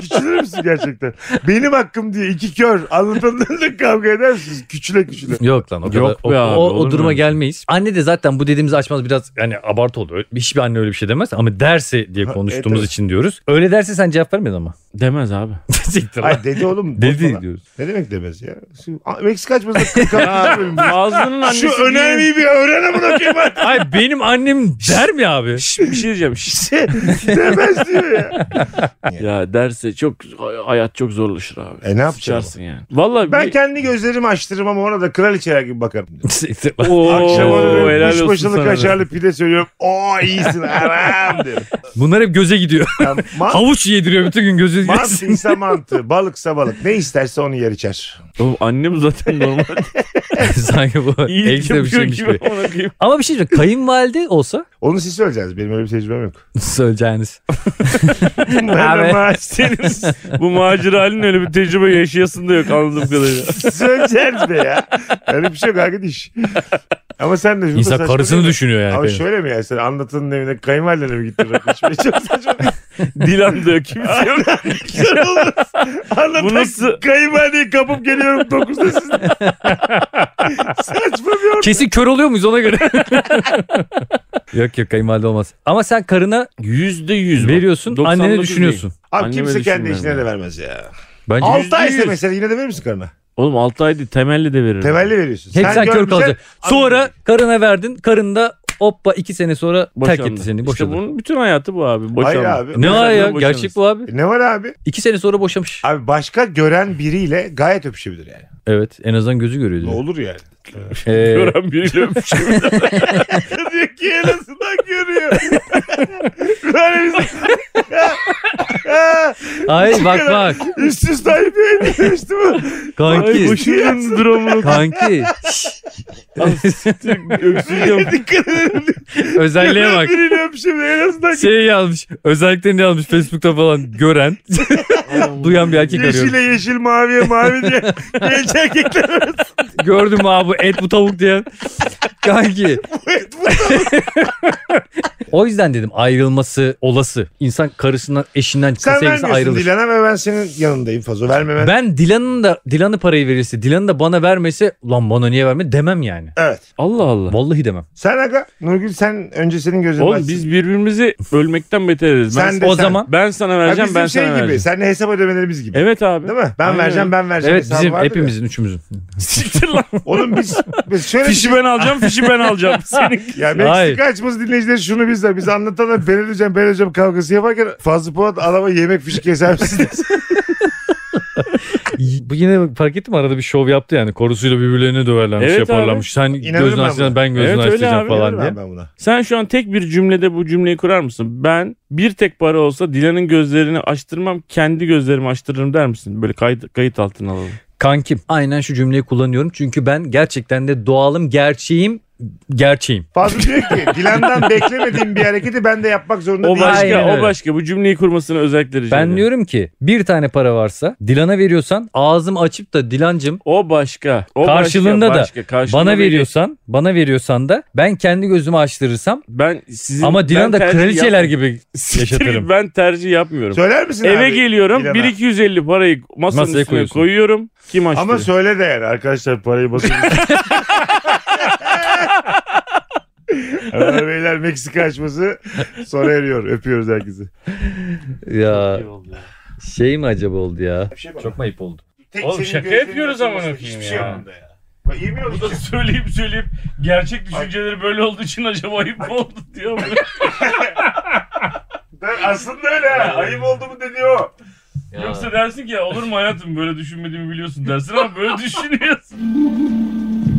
Speaker 1: küçülür müsün gerçekten? Benim hakkım diye iki kör anlatanın önünde kavga eder misiniz? Küçüle küçüle.
Speaker 2: Yok lan o kadar.
Speaker 3: Yok be
Speaker 2: o,
Speaker 3: abi,
Speaker 2: o,
Speaker 3: olur mu
Speaker 2: o duruma
Speaker 3: öyle şey?
Speaker 2: gelmeyiz. Anne de zaten bu dediğimizi açmaz biraz yani abartı oldu. Öyle- Hiçbir anne öyle bir şey demez ama derse diye
Speaker 1: Ha,
Speaker 2: konuştuğumuz
Speaker 1: evet, evet.
Speaker 2: için diyoruz. Öyle derse sen cevap vermedin ama.
Speaker 3: Demez abi.
Speaker 2: Siktir lan.
Speaker 1: Ay dedi oğlum.
Speaker 2: Dedi
Speaker 1: bozma lan.
Speaker 2: diyoruz.
Speaker 1: Ne demek demez ya? Şimdi, A- Meksika açmasında kırk bölüm.
Speaker 3: Fazlı'nın annesi...
Speaker 1: Şu önemliyi bir öğren amına koyayım. artık.
Speaker 2: Ay benim annem der mi abi?
Speaker 3: Şş, bir şey diyeceğim. Şş.
Speaker 1: demez diyor ya.
Speaker 3: Ya derse çok hayat çok zorlaşır abi.
Speaker 1: E ne yapacağım?
Speaker 3: Sıçarsın yani. Vallahi
Speaker 1: Ben
Speaker 3: bir-
Speaker 1: kendi gözlerimi açtırırım ama ona da kraliçeler gibi bakarım.
Speaker 2: Siktir lan.
Speaker 3: Oo,
Speaker 1: Akşama da böyle
Speaker 3: helal olsun
Speaker 1: kuş başılı
Speaker 3: sana.
Speaker 1: kaşarlı pide söylüyorum. Oo iyisin aram diyorum.
Speaker 2: Bunlar hep göze gidiyor.
Speaker 1: Yani man-
Speaker 2: Havuç yediriyor bütün gün gözü.
Speaker 1: mantı ise mantı, balıksa balık. Ne isterse onu yer içer.
Speaker 3: Oğlum annem zaten normal
Speaker 2: Sanki bu
Speaker 3: iyilik
Speaker 2: ekstra bir
Speaker 3: yapıyor
Speaker 2: şeymiş
Speaker 3: gibi.
Speaker 2: gibi.
Speaker 3: Ona koyayım.
Speaker 2: Ama bir şey diyeceğim. Kayınvalide olsa
Speaker 1: Onu siz söyleyeceksiniz. Benim öyle bir tecrübem yok.
Speaker 2: söyleyeceğiniz.
Speaker 1: Ben de
Speaker 2: Abi.
Speaker 1: ma-
Speaker 3: Senin bu macera halin öyle bir tecrübe yaşayasın da yok anladığım kadarıyla.
Speaker 1: söyleyeceksiniz be ya. Öyle bir şey yok arkadaş. Ama sen de şurada
Speaker 2: İnsan
Speaker 1: saçma
Speaker 2: karısını
Speaker 1: değil mi?
Speaker 2: düşünüyor yani.
Speaker 1: Ama
Speaker 2: kayın-
Speaker 1: şöyle mi yani sen anlatanın evine kayınvalidene mi gittin rakı içmeye? Çok saçma şey değil
Speaker 3: Dilan da yok kimse yok.
Speaker 1: mi?
Speaker 3: Bu nasıl-
Speaker 1: Anlatan kayınvalideyi kapıp geliyorum 9'da siz. saçma bir ortam.
Speaker 2: Kesin kör oluyor muyuz ona göre? yok yok kayınvalide olmaz. Ama sen karına
Speaker 3: Yüzde yüz. bak.
Speaker 2: veriyorsun
Speaker 3: 99
Speaker 2: annene
Speaker 3: değil.
Speaker 2: düşünüyorsun.
Speaker 1: Abi
Speaker 3: Anneme
Speaker 1: kimse kendi
Speaker 3: düşünmüyorum
Speaker 1: eşine
Speaker 3: yani.
Speaker 1: de vermez ya.
Speaker 2: Bence
Speaker 1: 6 ay
Speaker 2: yüzde yüz.
Speaker 1: mesela yine de verir misin karına?
Speaker 3: Oğlum 6 ay değil temelli de veririm.
Speaker 1: Temelli veriyorsun.
Speaker 2: Hep sen, kör
Speaker 1: görmeyeceksin,
Speaker 2: kalacaksın. Sonra karına verdin. Karın da hoppa iki sene sonra
Speaker 3: Boşandı.
Speaker 2: terk etti seni.
Speaker 3: İşte
Speaker 2: Boşadı.
Speaker 3: bunun bütün hayatı bu abi. Boşandı.
Speaker 1: Hayır abi.
Speaker 2: Ne var ya?
Speaker 3: Boşandı.
Speaker 2: Gerçek bu abi.
Speaker 1: e, Ne var abi?
Speaker 2: İki sene sonra boşamış.
Speaker 1: Abi başka gören biriyle gayet öpüşebilir yani.
Speaker 2: Evet en azından gözü görüyor.
Speaker 1: Ne
Speaker 2: diyor.
Speaker 1: olur yani.
Speaker 2: Ee,
Speaker 3: Gören şey biriyle öpüşüyor.
Speaker 1: diyor ki en azından görüyor. Ulan herif-
Speaker 2: Ay bak bak.
Speaker 1: Üst üste ayıp yayın demiş değil mi?
Speaker 3: Ay
Speaker 2: Kanki.
Speaker 3: başının dramını
Speaker 2: Kanki.
Speaker 3: öksürüyorum.
Speaker 1: Dikkat edin.
Speaker 2: Özelliğe bak.
Speaker 1: Birini öpüşüm en azından.
Speaker 2: Şey yazmış. Özelliklerini yazmış Facebook'ta falan gören, duyan bir erkek arıyorum.
Speaker 1: Yeşile yeşil maviye mavi diye genç erkekler arasında
Speaker 2: Gördün mü abi bu et bu tavuk diye. Kanki.
Speaker 1: bu
Speaker 2: O yüzden dedim ayrılması olası. İnsan karısından, eşinden,
Speaker 1: Sen
Speaker 2: sevgisinden
Speaker 1: vermiyorsun
Speaker 2: ayrılır.
Speaker 1: Dilan'a ve ben senin yanındayım Fazo. Vermemen.
Speaker 2: Ben Dilan'ın da Dilan'ı parayı verirse, Dilan'ı da bana vermese lan bana niye verme demem yani.
Speaker 1: Evet.
Speaker 3: Allah Allah.
Speaker 2: Vallahi demem.
Speaker 1: Sen Aga, Nurgül sen önce senin gözünü
Speaker 3: Oğlum
Speaker 1: açsın.
Speaker 3: biz birbirimizi bölmekten beter ederiz. Ben,
Speaker 1: Sen de
Speaker 2: o
Speaker 1: sen.
Speaker 2: zaman
Speaker 3: ben sana
Speaker 1: Ha,
Speaker 3: vereceğim
Speaker 1: bizim
Speaker 3: ben
Speaker 1: şey
Speaker 3: sana
Speaker 1: gibi.
Speaker 3: vereceğim.
Speaker 1: Seninle hesap ödemelerimiz gibi.
Speaker 3: Evet abi.
Speaker 1: Değil mi? Ben
Speaker 3: Aynen.
Speaker 1: vereceğim ben vereceğim.
Speaker 2: Evet
Speaker 1: hesabı
Speaker 2: bizim
Speaker 1: vardır ya.
Speaker 2: hepimizin üçümüzün.
Speaker 3: Siktir lan.
Speaker 1: Oğlum biz, biz şöyle bir
Speaker 3: Fişi
Speaker 1: şey.
Speaker 3: ben alacağım, fişi ben alacağım. Senin
Speaker 1: Ya
Speaker 2: Hayır.
Speaker 1: Meksika açması dinleyicileri şunu bizler. Biz anlatanlar ben öleceğim ben öleceğim kavgası yaparken Fazlı Polat adama yemek fişi keser misin?
Speaker 2: Bu yine fark ettim arada bir şov yaptı yani. Korusuyla birbirlerini döverlermiş
Speaker 3: Evet
Speaker 2: yaparlarmış. Sen
Speaker 1: İnanırım
Speaker 2: gözünü
Speaker 1: ben
Speaker 2: açacaksın
Speaker 1: buna.
Speaker 2: ben gözünü
Speaker 3: Evet, öyle
Speaker 2: açacağım
Speaker 3: abi,
Speaker 2: falan diye.
Speaker 1: Ben buna.
Speaker 3: Sen şu an tek bir cümlede bu cümleyi kurar mısın? Ben bir tek para olsa Dilan'ın gözlerini açtırmam, kendi gözlerimi açtırırım der misin? Böyle kayıt, kayıt altına alalım.
Speaker 2: Kankim aynen şu cümleyi kullanıyorum. Çünkü ben gerçekten de doğalım, gerçeğim, gerçeğim.
Speaker 1: Fazlı diyor ki Dilan'dan beklemediğim bir hareketi ben de yapmak zorunda
Speaker 3: O
Speaker 1: değilim.
Speaker 3: başka,
Speaker 2: Aynen öyle.
Speaker 3: o başka. Bu cümleyi kurmasını özellikle rica
Speaker 2: Ben
Speaker 3: ediyorum.
Speaker 2: diyorum ki bir tane para varsa Dilan'a veriyorsan ağzım açıp da Dilancım
Speaker 3: O başka. O
Speaker 2: Karşılığında
Speaker 3: başka,
Speaker 2: da
Speaker 3: başka, karşılığında
Speaker 2: bana
Speaker 3: değil.
Speaker 2: veriyorsan, bana veriyorsan da ben kendi gözümü açtırırsam
Speaker 3: Ben sizin
Speaker 2: ama Dilan
Speaker 3: ben
Speaker 2: da
Speaker 3: tercih
Speaker 2: kraliçeler
Speaker 3: yapmıyorum.
Speaker 2: gibi
Speaker 3: Siktir git,
Speaker 2: yaşatırım.
Speaker 3: Ben tercih yapmıyorum.
Speaker 1: Söyler misin
Speaker 3: Eve
Speaker 1: abi?
Speaker 3: geliyorum.
Speaker 1: Dilan'a.
Speaker 3: 1250 parayı masanın
Speaker 2: Masaya
Speaker 3: üstüne
Speaker 2: koyuyorsun.
Speaker 3: koyuyorum. Kim açtı?
Speaker 1: Ama söyle de yani arkadaşlar parayı basın. Hanımlar, Beyler Meksika açması sonra eriyor. Öpüyoruz herkesi.
Speaker 2: Ya şey mi acaba oldu ya?
Speaker 1: şey
Speaker 2: Çok mu ayıp oldu?
Speaker 1: Tek
Speaker 3: Oğlum
Speaker 1: senin
Speaker 3: şaka
Speaker 1: gözlerinin
Speaker 3: yapıyoruz
Speaker 1: açılması
Speaker 3: amına koyayım
Speaker 1: Hiçbir şey
Speaker 3: ya.
Speaker 1: yok bunda ya. Bak yemin
Speaker 3: Bu da
Speaker 1: olsun.
Speaker 3: söyleyip söyleyip gerçek düşünceleri böyle olduğu için acaba ayıp mı oldu diyor.
Speaker 1: Ben aslında öyle ha. Ayıp oldu mu dedi o.
Speaker 3: Yoksa dersin ki olur mu hayatım böyle düşünmediğimi biliyorsun dersin ama böyle düşünüyorsun.